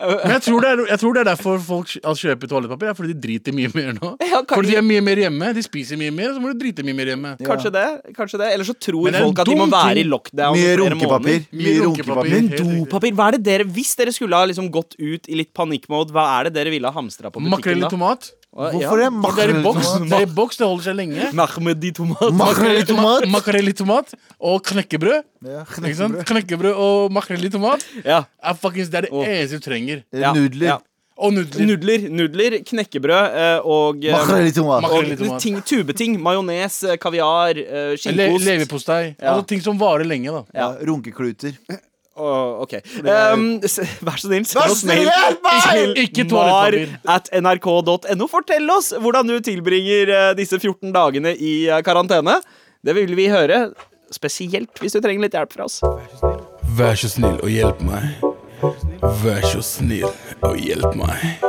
D: Men jeg tror, det er, jeg tror det er derfor folk kj- altså, kjøper toalettpapir. er Fordi de driter mye mer nå.
B: Ja, kanskje-
D: fordi de er mye mer hjemme. De spiser mye mer, og så må du drite mye mer hjemme.
B: Kanskje det. kanskje det Eller så
D: Men
B: tror
D: det er en
B: folk at de må
D: dum
B: være i
D: ting.
B: lockdown.
C: Mye
B: i flere måneder.
C: runkepapir. Mye runkepapir.
D: Helt riktig.
B: Dopapir, hva er det dere Hvis dere skulle ha liksom gått ut i litt panikkmode, hva er det dere ville ha hamstra på
D: Makrell
B: butikken?
D: i
B: da?
D: tomat.
C: Hvorfor er
D: Det er i boks,
C: makrell
D: det, er i boks, det holder seg lenge.
B: Mahmed i tomat.
C: Makrell i tomat?
D: Makrell i tomat og knekkebrød.
C: Ja,
D: Ikke sant? Knekkebrød og makrell i tomat
B: Ja.
D: er faktisk det, er det eneste du trenger.
B: ja,
C: Nudler.
B: ja.
D: Og nudler.
B: Nudler, nudler, knekkebrød eh, og, eh,
C: Makrell i tomat.
D: Makrell i
B: og
D: tomat.
B: ting, tubeting. Majones, eh, kaviar, eh,
D: Le
B: skinkeost.
D: Leverpostei.
B: Ja.
D: Altså ting som varer lenge, da.
C: Ja, runkekluter.
B: Å, ok. Um, s- vær så snill,
C: Vær
B: send
C: så
B: oss mail.
C: snill, hjelp meg!
D: Ikke- ikke toalettpapir.
B: Mar at nrk.no. Fortell oss hvordan du tilbringer eh, disse 14 dagene i eh, karantene. Det vil vi høre. Spesielt hvis du trenger litt hjelp fra oss.
E: Vær så snill og hjelp meg. Vær så snill og hjelp meg.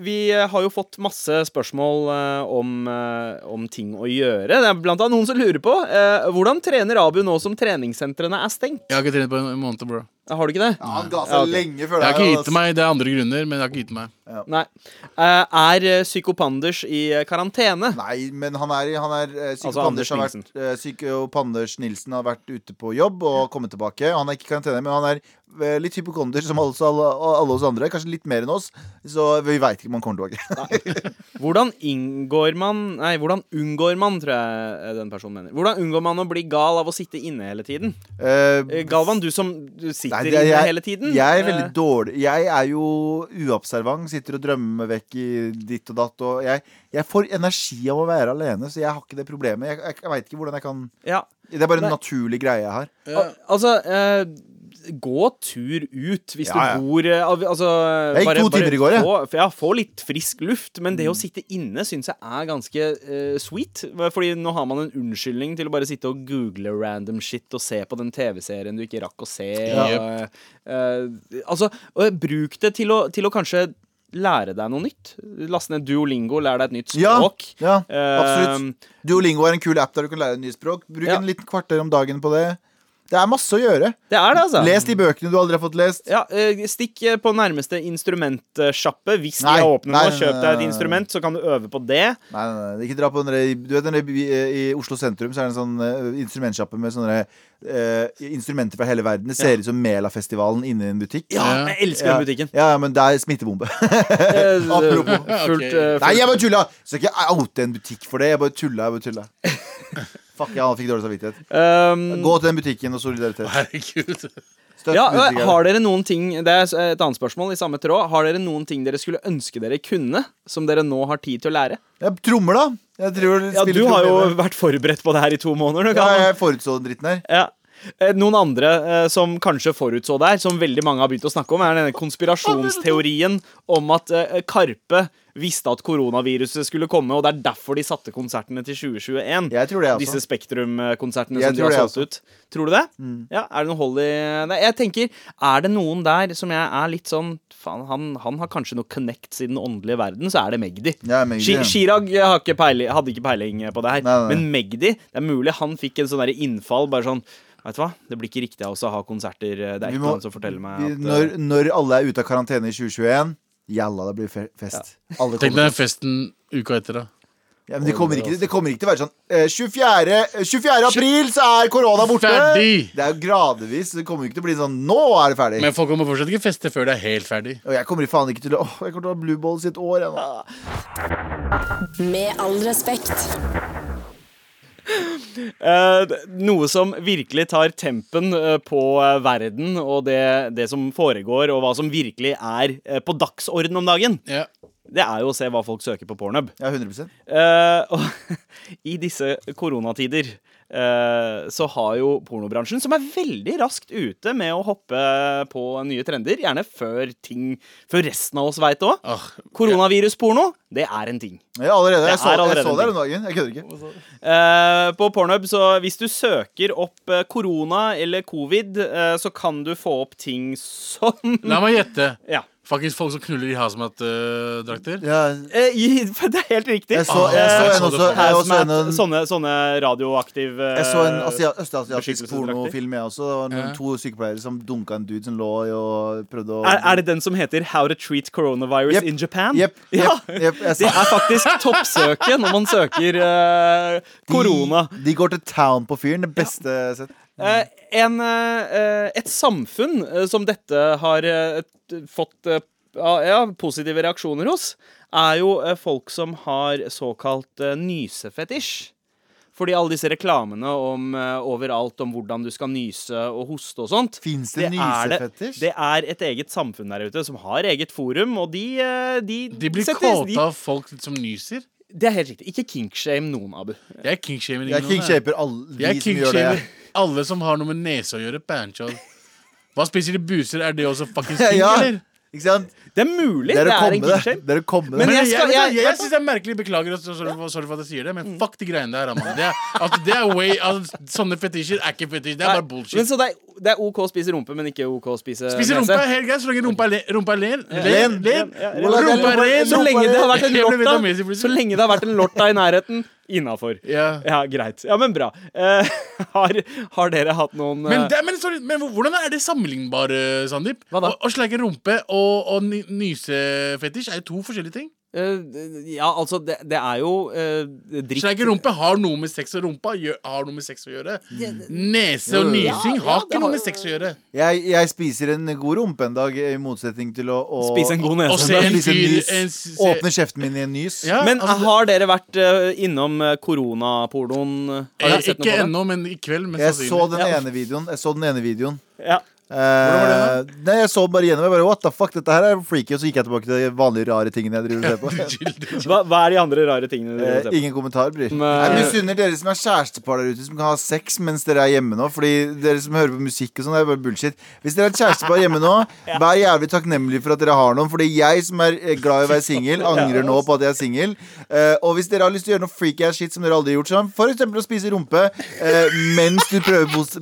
B: Vi eh, har jo fått masse spørsmål eh, om, eh, om ting å gjøre. Det er blant annet noen som lurer på eh, hvordan trener Abu nå som treningssentrene er stengt.
D: Jeg har ikke trent på en måned, bro.
B: Har du ikke det?
C: Ja, han ga
B: Ja,
C: seg
B: ok.
C: lenge før
D: Jeg har
C: her, altså.
D: ikke
C: ass.
D: gitt meg, Det er andre grunner, men jeg har ikke gitt meg.
B: Nei. Eh, Er eh, Psykopanders i eh, karantene?
C: Nei, men han er, han er eh, Syke
B: Altså, Anders
C: Anders har vært, eh, Syke og Panders Nilsen har vært ute på jobb og kommet tilbake. Han er ikke i karantene, men han er eh, litt hypokonder som alle, alle, alle oss andre. Kanskje litt mer enn oss, så vi veit ikke om han kommer tilbake.
B: Hvordan inngår man Nei, hvordan unngår man, tror jeg eh, den personen mener. Hvordan unngår man å bli gal av å sitte inne hele tiden?
C: Eh,
B: Eh, Galvan, du som du sitter
C: nei, det er-
B: inne
C: jeg-
B: hele tiden.
C: Jeg er
B: eh,
C: veldig dårlig. Jeg er jo uobservant. Sitter og drømmer meg vekk i ditt og datt. Og jeg, jeg får energi av å være alene, så jeg har ikke det problemet. Jeg, jeg, jeg veit ikke hvordan jeg kan
B: eh, ja.
C: Det er bare en
B: Nei.
C: naturlig greie jeg har.
B: Al- Altså eh, Gå tur ut hvis
C: Ja, ja.
B: du bor eh, al- altså,
C: Jeg gikk to timer i går, jeg. Mm.
B: få, f- ja, få litt frisk luft. Men det å sitte inne syns jeg er ganske eh, sweet. Fordi nå har man en unnskyldning til å bare sitte og google random shit og se på den TV-serien du ikke rakk å se. og, eh, altså, og bruk det til å, til å kanskje lære deg noe nytt. Laste ned Duolingo, lær deg et nytt
C: Ja,
B: språk.
C: ja
B: Eh,
C: absolutt. um, Duolingo er en kul app der du kan lære et nytt språk. Bruk
B: Ja.
C: en liten kvarter om dagen på det. Det er masse å gjøre.
B: Det er det, altså.
C: Les de bøkene du aldri har fått lest.
B: Ja, eh, Stikk eh, på nærmeste instrumentsjappe. Hvis
C: Nei,
B: de er åpne
C: nei,
B: nå, kjøp
C: nei,
B: deg
C: nei,
B: et instrument, så kan du øve på det.
C: Nei, nei, nei, ikke dra på den der- Du vet den der by- I Oslo sentrum så er det en sånn eh, instrumentsjappe med sånne eh, instrumenter fra hele verden. Det ser ut som Melafestivalen inne i en butikk.
D: Ja.
B: Jeg elsker den butikken.
C: Ja, ja, men det er smittebombe.
B: Eh,
C: Apropos.
B: Fullt, eh,
C: Nei, jeg bare tulla! Så ikke jeg oute en butikk for det. Jeg bare tulla. Jeg bare tulla. Fuck, jeg fikk dårlig samvittighet.
B: ehm,
C: Gå til den butikken og solidaritet.
D: Herregud.
C: Støtt
B: ja, eh,
C: musikere.
B: har dere noen ting Det er eh, et annet spørsmål i samme tråd. Har dere noen ting dere skulle ønske dere kunne, som dere nå har tid til å lære?
C: Ja, Trommer, da. Jeg tror jeg
B: Ja,
C: spiller
B: Du har
C: trommer
B: jo
C: hjemme.
B: vært forberedt på det her i to måneder. Du,
C: Ja,
B: Galvan.
C: jeg forutså den dritten her.
B: Ja. Eh, Noen andre eh, som kanskje forutså det her, som veldig mange har begynt å snakke om, er denne konspirasjonsteorien om at eh, Karpe visste at koronaviruset skulle komme, og det er derfor de satte konsertene til 2021.
C: Jeg tror det, altså.
B: Disse Spektrum-konsertene
C: Jeg
B: som de
C: tror
B: har
C: det, altså. Mm.
B: solgt ut. Tror du det? Ja, er det noe hold i Nei, jeg tenker, er det noen der som jeg er litt sånn Faen, han, han har kanskje noe connects i den åndelige verden, så er det Magdi.
C: Ja, Magdi,
B: Shi-
C: ja.
B: Chirag eh, har ikke peiling, hadde ikke peiling eh, på det her.
C: Nei, nei, nei.
B: Men Magdi, det er mulig han fikk en sånn der innfall. Bare sånn Vet du hva, det blir ikke riktig av oss å ha konserter. eh, Det er
C: Vi
B: ikke
C: må-
B: noen som forteller meg
C: vi-
B: at eh,
C: når, når alle er ute av karantene i 2021 Jalla, det blir fe fest. Alle
D: Tenk
C: kommer.
D: deg festen uka etter, da.
C: Ja, men det, kommer ikke, det kommer ikke til å være sånn eh, 24. eh, 24. april så er korona borte!
D: Ferdig!
C: Det er jo gradvis. Det kommer ikke til å bli sånn Nå er det ferdig!
D: Men folk kommer fortsatt ikke feste før det er helt ferdig.
C: og jeg kommer faen ikke til å Åh, jeg kommer til å ha blue balls i et år ennå.
B: Ah.
A: Med all respekt.
B: Eh, noe som virkelig tar tempen eh, på eh, verden og det, det som foregår, og hva som virkelig er eh, på dagsorden om dagen,
D: Ja.
B: det er jo å se hva folk søker på pornhub.
C: Ja, 100
B: Eh, og i disse koronatider eh, så har jo pornobransjen, som er veldig raskt ute med å hoppe på nye trender, gjerne før ting Før resten av oss veit det òg.
D: Ah,
B: Koronavirusporno, det er en ting.
C: Ja, allerede. Jeg
B: Det
C: så,
B: er allerede en
C: jeg så det her
B: ting.
C: om dagen. Jeg kødder ikke.
B: Eh, på Pornhub, så hvis du søker opp eh, korona eller covid, eh, så kan du få opp ting som
D: La meg gjette.
B: Ja.
D: Faktisk folk som knuller i hazmat-drakter.
C: Ja,
B: Eh, i- det er helt riktig. Eh,
C: jeg så, jeg så
D: Ah,
C: en
D: jeg så det
C: også.
D: på-
C: Jeg, også
B: Hazmat, Sånn
C: en, en,
B: sånne, sånne radioaktiv eh,
C: jeg så en asia- østasiatisk
B: beskyttelsesdrakter.
C: pornofilm, jeg også. Det var noen to sykepleiere som dunka en dude som lå i og prøvde å
B: er, er det den som heter 'How to treat coronavirus
C: Jep,
B: in Japan'?
C: Jepp.
B: Ja.
C: jepp, jepp, jeg
B: Det
C: sa-
B: er faktisk toppsøket når man søker eh, korona.
C: De, de går til town på fyren. Det beste jeg har sett.
B: Eh, en, eh, et samfunn eh, som dette har eh, t- fått eh, ja, ja, positive reaksjoner hos, er jo eh, folk som har såkalt eh, nysefetisj. Fordi alle disse reklamene om eh, overalt om hvordan du skal nyse og hoste og sånt
C: Fins det,
B: er
C: nysefetisj?
B: det er et eget samfunn der ute som har eget forum, og de eh, De,
D: De blir
B: setter- de-
D: kåte av folk som nyser.
B: Det er helt riktig. Ikke kinkshame noen, Abu.
D: Jeg er kingshamer.
C: Jeg kingshaper alle de
D: Jeg
C: som gjør det.
D: kingshamer alle som har noe med nese å gjøre. Banchol. Hva spiser de buser? Er det også fuckings king,
C: Ja.
D: eller?
C: Ikke sant?
B: Det er mulig
C: Det er å
B: det er en
C: komme det.
B: kinkshame.
C: Det er å komme
B: Men
C: det.
D: Men jeg,
B: jeg skal-
D: jeg, jeg,
B: jeg-
D: jeg synes det er merkelig. Beklager, og så- sorry, for- sorry for at jeg sier det, men fuck de greiene der. Aman. Det er, altså, det er way, altså, sånne fetisjer er ikke fetisj. Det er bare
B: Nei,
D: bullshit.
B: Men så det er, det er OK å spise rumpe, men ikke OK å spise,
D: Spiser rumpa er helt greit så lenge rumpa er len. Rumpa er len. len,
C: Len.
D: len.
B: Ja, ja,
C: ja.
D: Rumpa er len.
B: Så lenge det har vært en
D: Jeg ble
B: lorta
D: vietnamesisk plutselig.
B: Så lenge det har vært en lorta i nærheten, innafor.
D: Ja.
B: Ja, greit. Ja, men bra. Eh, har, har dere hatt noen eh,
D: Men, det, men, sorry, men hvordan er det sammenlignbare, Sandeep?
B: Hva da?
D: Å- Å sleike rumpe og, og ny- nysefetisj er jo to forskjellige ting.
B: eh, Ja, altså, det, det er jo eh, dritt
D: Sleike rumpe har noe med sex og rumpa gjør, har noe med sex å gjøre. Nese og
C: Jo, jo, jo.
D: nysing
B: Ja, ja,
D: har
B: det
D: ikke noe
B: har-
D: med sex å gjøre.
C: Jeg, jeg spiser en god rumpe en dag, i motsetning til å, å
B: Spise en god
D: Å se
B: nese.
D: en
C: spise en
D: fyr
C: nys.
D: en s- se-
C: Åpne kjeften min i en nys.
D: Ja,
B: Men
D: altså,
B: har dere vært eh, innom eh, koronapornoen? Har
D: eh,
B: dere sett noe
D: Ikke
B: på det?
D: ennå, men i kveld. Men
C: Jeg så
D: sannsynlig.
C: den
B: Ja.
C: ene videoen. Jeg så den ene videoen.
B: Ja.
C: Eh, nei, jeg så bare gjennom. Jeg bare, What the fuck, dette her er freaky. Og så gikk jeg tilbake til de vanlige rare tingene jeg driver og ser på.
B: Hva, hva er de andre rare tingene dere
C: Eh,
B: ser på?
C: ingen kommentar, Bryr.
B: Nei.
C: Jeg misunner dere som er kjærestepar der ute, som kan ha sex mens dere er hjemme nå. Fordi dere som hører på musikk og sånn, det er bare bullshit. Hvis dere er et kjærestepar hjemme nå, vær jævlig takknemlig for at dere har noen. Fordi jeg som er eh, glad i å være singel, angrer nå på at jeg er singel. Eh, og hvis dere har lyst til å gjøre noe freaky ass shit som dere aldri har gjort, sånn f.eks. å spise rumpe eh, mens du prøver pros-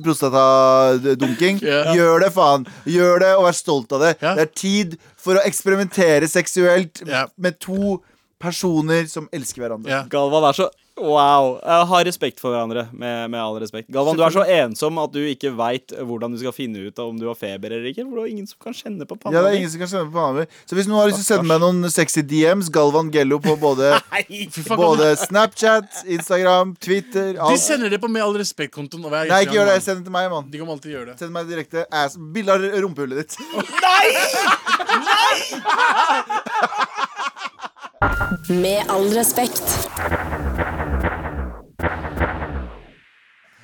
C: prostatadunking,
D: Ja.
C: gjør det, faen. Gjør det, og vær stolt av det.
D: Ja.
C: Det er tid for å eksperimentere seksuelt
D: Ja.
C: med to Personer som elsker hverandre.
D: Ja.
B: Galvan er så Wow. Jeg har respekt for hverandre, med, med all respekt. Galvan, du er så ensom at du ikke veit hvordan du skal finne ut av om du har feber eller ikke. For det er ingen som kan kjenne på panna.
C: Ja, det er
B: di.
C: ingen som kan sende på panna mi. Så hvis noen har lyst til å sende meg noen sexy DMs, Galvan Gello på både,
D: Fy faen,
C: både Snapchat, Instagram, Twitter
D: De
C: alt.
D: sender det på Med all respekt-kontoen. og hver
C: Nei,
D: gang,
C: ikke gjør det.
D: mann.
C: Send det til meg, mann.
D: De kan alltid gjøre det.
C: Send meg direkte ass, bilde av rumpehullet ditt.
A: Med all respekt.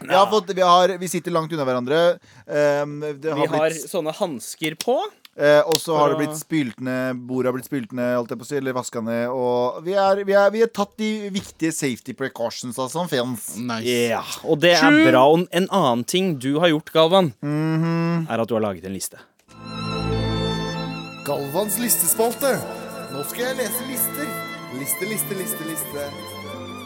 C: Vi, har fått, vi, har, vi sitter langt unna hverandre. Um, det
B: Vi
C: har
B: har
C: blitt
B: sånne hansker på.
C: Eh, og så har det blitt spylt ned, bordet har blitt spylt ned, holdt jeg på å si, eller vaska ned. Og vi er- vi er- vi har tatt de viktige safety precautions altså, som fins.
D: Nice.
B: Ja, og det er bra. Og en annen ting du har gjort, Galvan,
C: Mhm.
B: er at du har laget en liste.
F: Galvans listespalte. Nå skal jeg lese lister. Liste, liste, liste, liste.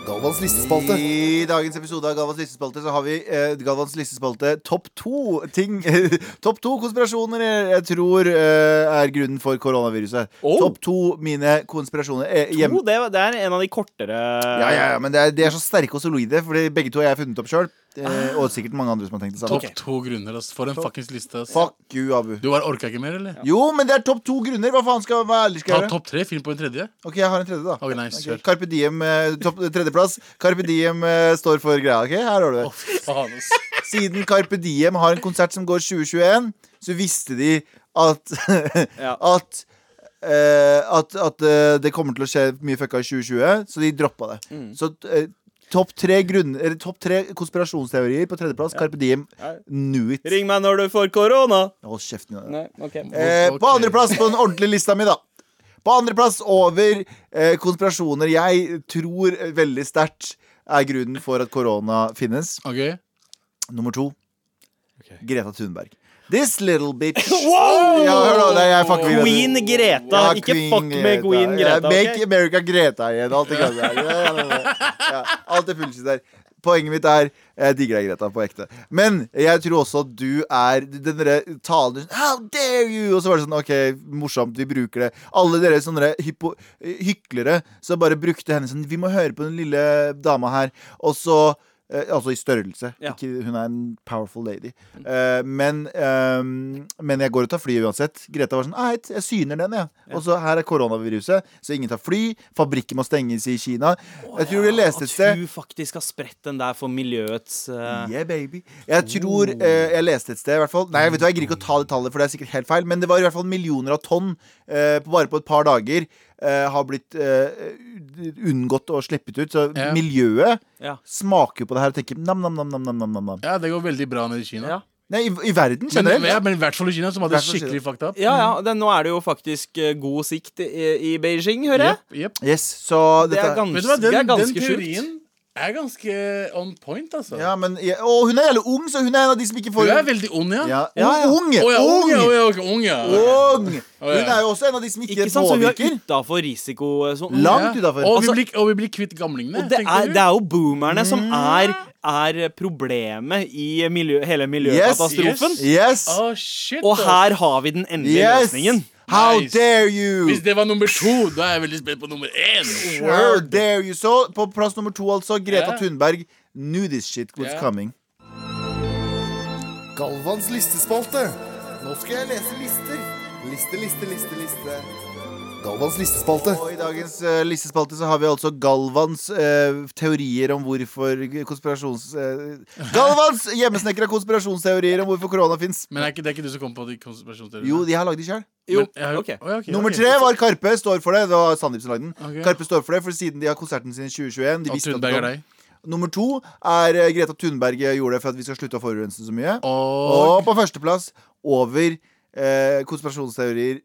F: Galvans listespalte.
C: I dagens episode av Galvans listespalte så har vi eh, Galvans listespalte topp to ting Topp to konspirasjoner jeg- jeg tror eh, er grunnen for koronaviruset.
B: Oh.
C: Topp to mine konspirasjoner. Eh, hjem-
B: Jo, det, det er en av de kortere
C: Ja, ja, ja, men det er, de er så sterke og solide, for begge to har jeg funnet opp sjøl. Eh, og sikkert mange andre som har tenkt det samme.
D: Topp to grunner, ass. For en fuckings liste, ass.
C: Fuck you, Abu.
D: Du bare orka ikke mer, eller?
C: Jo, men det er topp to grunner. Hva faen skal hva ærlig skal
D: Ta
C: jeg gjøre?
D: topp tre, film på en tredje.
C: Ok, jeg har en tredje, da.
D: Ok, nice,
C: Ok,
D: kjør.
C: Carpe Diem, eh, topp, tredjeplass. Carpe Diem eh, står for greia. Ok, her har du det.
D: Å, fy faen, ass.
C: Siden Carpe Diem har en konsert som går 2021, så visste de at
B: Ja.
C: At eh, at, at eh, det kommer til å skje mye fucka i 2020, så de droppa det.
B: Mm.
C: Så eh, topp tre, grunn- eller topp tre konspirasjonsteorier på tredjeplass. Carpe Diem,
B: Ja.
C: nu it.
B: Ring meg når du får korona.
C: Hold kjeften din.
B: Nei, ok
C: Eh,
D: Ok.
C: På andreplass på den ordentlige lista mi, da. På andreplass over eh, konspirasjoner jeg tror veldig sterkt er grunnen for at korona finnes.
D: Ok.
C: Nummer to.
B: Ok.
C: Greta Thunberg. This little bitch. Ja, hør da, nei, jeg
D: Oh,
C: fucker med
B: Queen
C: Greta.
B: Greta.
C: Ja,
B: Ikke
C: Queen
B: fuck med Queen Greta.
C: Ja, make
B: ok?
C: America Greta igjen. Alt det greiene der. Ja, ja, ja, ja. Ja, alt det fullskit der. Poenget mitt er jeg digger deg, Greta, på ekte. Men jeg tror også at du er den derre talen du- How dare you! Og så var det sånn OK, morsomt, vi bruker det. Alle dere sånne derre hypo, hyklere som bare brukte henne sånn Vi må høre på den lille dama her. Og så eh, Altså i størrelse.
B: Ja.
C: Ikke, hun er en powerful lady. Eh, men, ehm, men jeg går og tar fly uansett. Greta var sånn Eit, jeg syner den, jeg. Og så her er koronaviruset, så ingen tar fly. Fabrikker må stenges i Kina. Jeg tror vi leste et sted
B: At hun faktisk har spredt den der for miljøets eh,
C: Yeah, baby. Jeg tror eh, Jeg leste et sted, i hvert fall. Nei, vet du, hva, jeg gidder ikke å ta det tallet, for det er sikkert helt feil. Men det var i hvert fall millioner av tonn eh, på bare på et par dager eh, har blitt eh, unngått og slippet ut. Så
D: Ja.
C: miljøet
B: Ja.
C: smaker jo på det her og tenker nam-nam-nam.
D: Ja, det går veldig bra nede i Kina.
B: Ja.
C: Nei, i, i verden
D: Men,
C: generelt.
D: ja, men i hvert fall i Kina, som hadde
C: Hvert fall i
D: skikkelig fucked up.
B: Ja, ja, det, nå er det jo faktisk eh, god sikt i, i Beijing, hører jeg.
D: Jep, jep.
C: Yes, så
B: Det
C: dette
B: er ganske,
D: Vet du hva,
B: Hm, det er
D: den, den
B: ganske
D: teorien
B: sjukt.
D: er ganske on point, altså.
C: ja, men, ja, Og hun er jævlig ung, så hun er en av de som ikke
D: Du
C: får
D: er veldig ond, ja?
C: ja.
B: Ja, ja.
C: Ung!
D: Å ja, ung, ja,
C: ung!
D: å ja, ok, ung, ja.
C: Ung!
D: Å, ja.
C: Hun er jo også en av de som ikke,
B: Ikke sånn sant, så hun er
C: påvirker.
B: utafor risiko. eh, Sånn.
C: Langt utenfor.
D: Og, vi
B: Altså-
D: blir, og vi blir kvitt gamlingene,
B: Og det
D: tenker
B: er,
D: du?
B: det er jo boomerne som er, er problemet i miljø, hele miljøkatastrofen.
C: Yes!
D: Å, shit, altså.
B: Og
D: ass.
B: her har vi den endelige
C: Yes!
B: løsningen.
C: How
D: Nice.
C: dare you!
D: Hvis det var nummer to, da er jeg veldig spent på nummer én.
C: How dare you Så på plass nummer to altså Greta
D: Ja.
C: Thunberg Knew this shit was
D: Ja.
C: coming
F: Galvans listespalte. Nå skal jeg lese lister. Liste, liste, liste, liste. Galvans listespalte.
C: Og i dagens eh, listespalte så har vi altså Galvans eh, teorier om hvorfor konspirasjons... eh, Galvans hjemmesnekra konspirasjonsteorier om hvorfor korona fins.
D: Men er ikke, det er ikke du som kom på de konspirasjonsteoriene?
C: Jo, de har lagd de sjøl.
B: Jo,
D: Men jeg har-
B: ok.
D: Å, ja, ok,
C: Nummer
D: ok.
C: tre var Karpe, står for det. Det var Sandeep som lagde den.
D: Ok.
C: Karpe står for det, for siden de har konserten sin i 2021 de
D: Og
C: visste at
D: Thunberg
C: det
D: er
C: kom.
D: deg.
C: Nummer to er eh, Greta Thunberg gjorde det for at vi skal slutte å forurense så mye.
D: Og
C: Og på førsteplass over eh, konspirasjonsteorier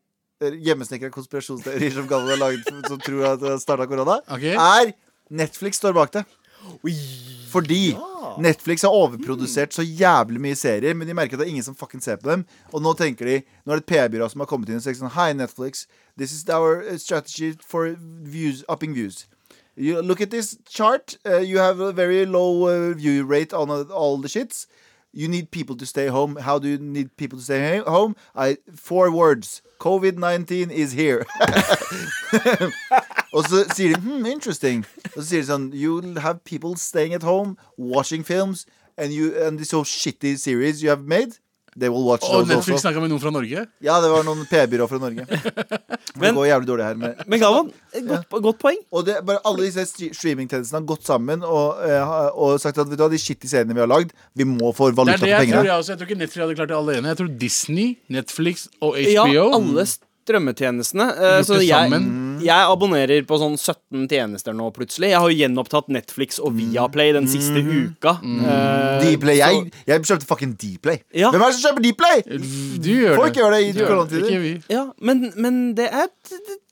C: eh, Hjemmesnekra konspirasjonsteorier som Galvan har laget som tror at det starta korona,
D: Ok.
C: er Netflix står bak det. Fordi Netflix har
D: Mm.
C: overprodusert så jævlig mye serier, men de merker at det er ingen som fucking ser på dem. Og nå tenker de Nå er det et PR-byrå som har kommet inn og sagt sånn Hei, Netflix. This is our eh, strategy for views, upping views. You look at this chart. Uh, you have a very low uh, view rate on uh, all the shits. You need people to stay home. How do you need people to stay ha- home? I four words. COVID nineteen is here. Og så sier de hmm, interesting. Og så sier de sånn You'll have people staying at home, watching films, and you and these so shitty series you have made. They will watch
D: og
C: those
D: Netflix
C: also.
D: snakka med noen fra Norge.
C: Ja, det var noen P-byrå fra Norge. det
B: Men-
C: går jævlig dårlig her med
B: Men Galvan, et godt, godt poeng.
C: Og det, bare alle disse stre- streamingtjenestene har gått sammen og, eh, ha- og sagt at vet du hva, de skittige seriene vi har lagd, vi må få
D: Det
C: valuta
D: er det
C: for
D: jeg tror,
C: pengene.
D: jeg også. Jeg tror ikke Netflix hadde klart det alene. Jeg tror Disney, Netflix og
B: Ja,
D: HBO
B: alle s- strømmetjenestene. eh,
D: Gjort
B: så
D: det
B: jeg,
D: sammen.
B: jeg abonnerer på sånn 17 tjenester nå, plutselig. Jeg har jo gjenopptatt Netflix og Viaplay den siste
C: Mm.
B: uka. Eh,
C: Dplay. Jeg,
B: så-
C: jeg kjøpte fucking Dplay.
B: Ja.
C: Hvem er det som kjøper Dplay?
D: Du gjør
C: Folk
D: det.
C: gjør det i
D: Du gjør det. Ikke
C: koronatider.
D: vi.
B: Ja, men, men det er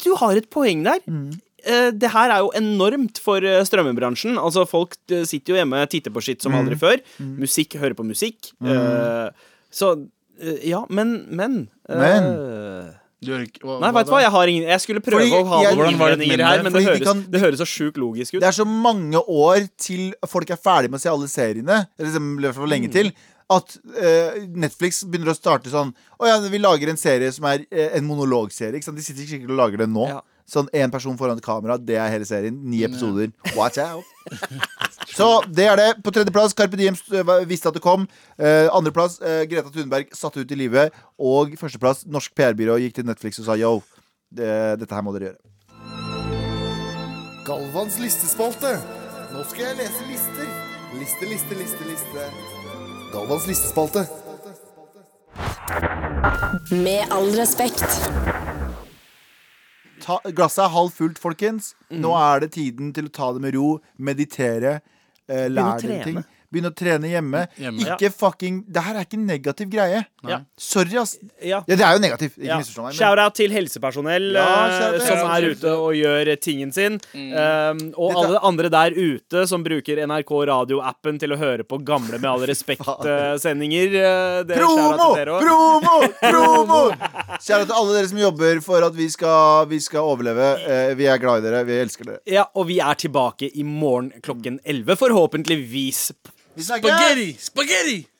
B: Du har et poeng der.
C: Mm.
B: Eh, Det her er jo enormt for eh, strømmebransjen. Altså Folk eh, sitter jo hjemme titter på skitt
C: Mm.
B: som aldri før. Musikk, hører på musikk. Eh, Så eh, Ja, men Men, eh,
D: Du gjør ikke hva-
B: Nei, veit du
D: da?
B: hva, jeg har ingen Jeg skulle prøve
C: Fordi
B: å ha
C: jeg-
B: noen
D: Hvordan var det
B: innvendinger
D: mindre?
B: her, men det
C: Fordi
B: høres,
C: de kan-
B: det høres så sjukt logisk ut.
C: Det er så mange år til folk er ferdig med å se alle seriene, eller liksom, i hvert fall
B: Mm.
C: lenge til, at eh, Netflix begynner å starte sånn Å ja, vi lager en serie som er eh, en monologserie. Ikke sant? De sitter sikkert og lager den nå.
B: Ja.
C: Sånn én person foran et kamera, det er hele serien. Ni episoder. Watch out! Så det er det. På tredjeplass, Carpe Diem st- hva- visste at det kom. Eh, Andreplass, eh, Greta Thunberg satt ut i livet. Og førsteplass, norsk PR-byrå gikk til Netflix og sa yo, det, dette her må dere gjøre.
F: Galvans listespalte. Nå skal jeg lese lister. Liste, liste, liste, liste. Galvans listespalte.
A: Med all respekt.
C: ta, glasset er halvfullt, folkens.
B: Mm.
C: Nå er det tiden til å ta det med ro, meditere, eh,
B: å
C: lære
B: trene.
C: deg ting. Begynne å trene hjemme.
D: Hjemme.
C: Ikke fucking Det her er ikke en negativ greie.
B: Ja.
C: Sorry, ass.
B: Ja.
C: Ja, det er jo negativt. Ikke
B: Ja.
C: misforstå meg. Men
B: Shout-out til helsepersonell
C: Ja,
B: eh,
C: shout-out.
B: som
D: Ja,
B: er
D: shout-out.
B: ute og gjør tingen sin. Um, og
C: Dette-
B: alle andre der ute som bruker NRK radioappen til å høre på gamle Med all eh, respekt-sendinger.
C: Promo! Promo! Promo! Kjære til alle dere som jobber for at vi skal, vi skal overleve. Eh, vi er glad i dere. Vi elsker dere.
B: Ja, og vi er tilbake i morgen klokken 11, forhåpentligvis.
C: Vi snakkes!
D: Spaghetti! Spaghetti!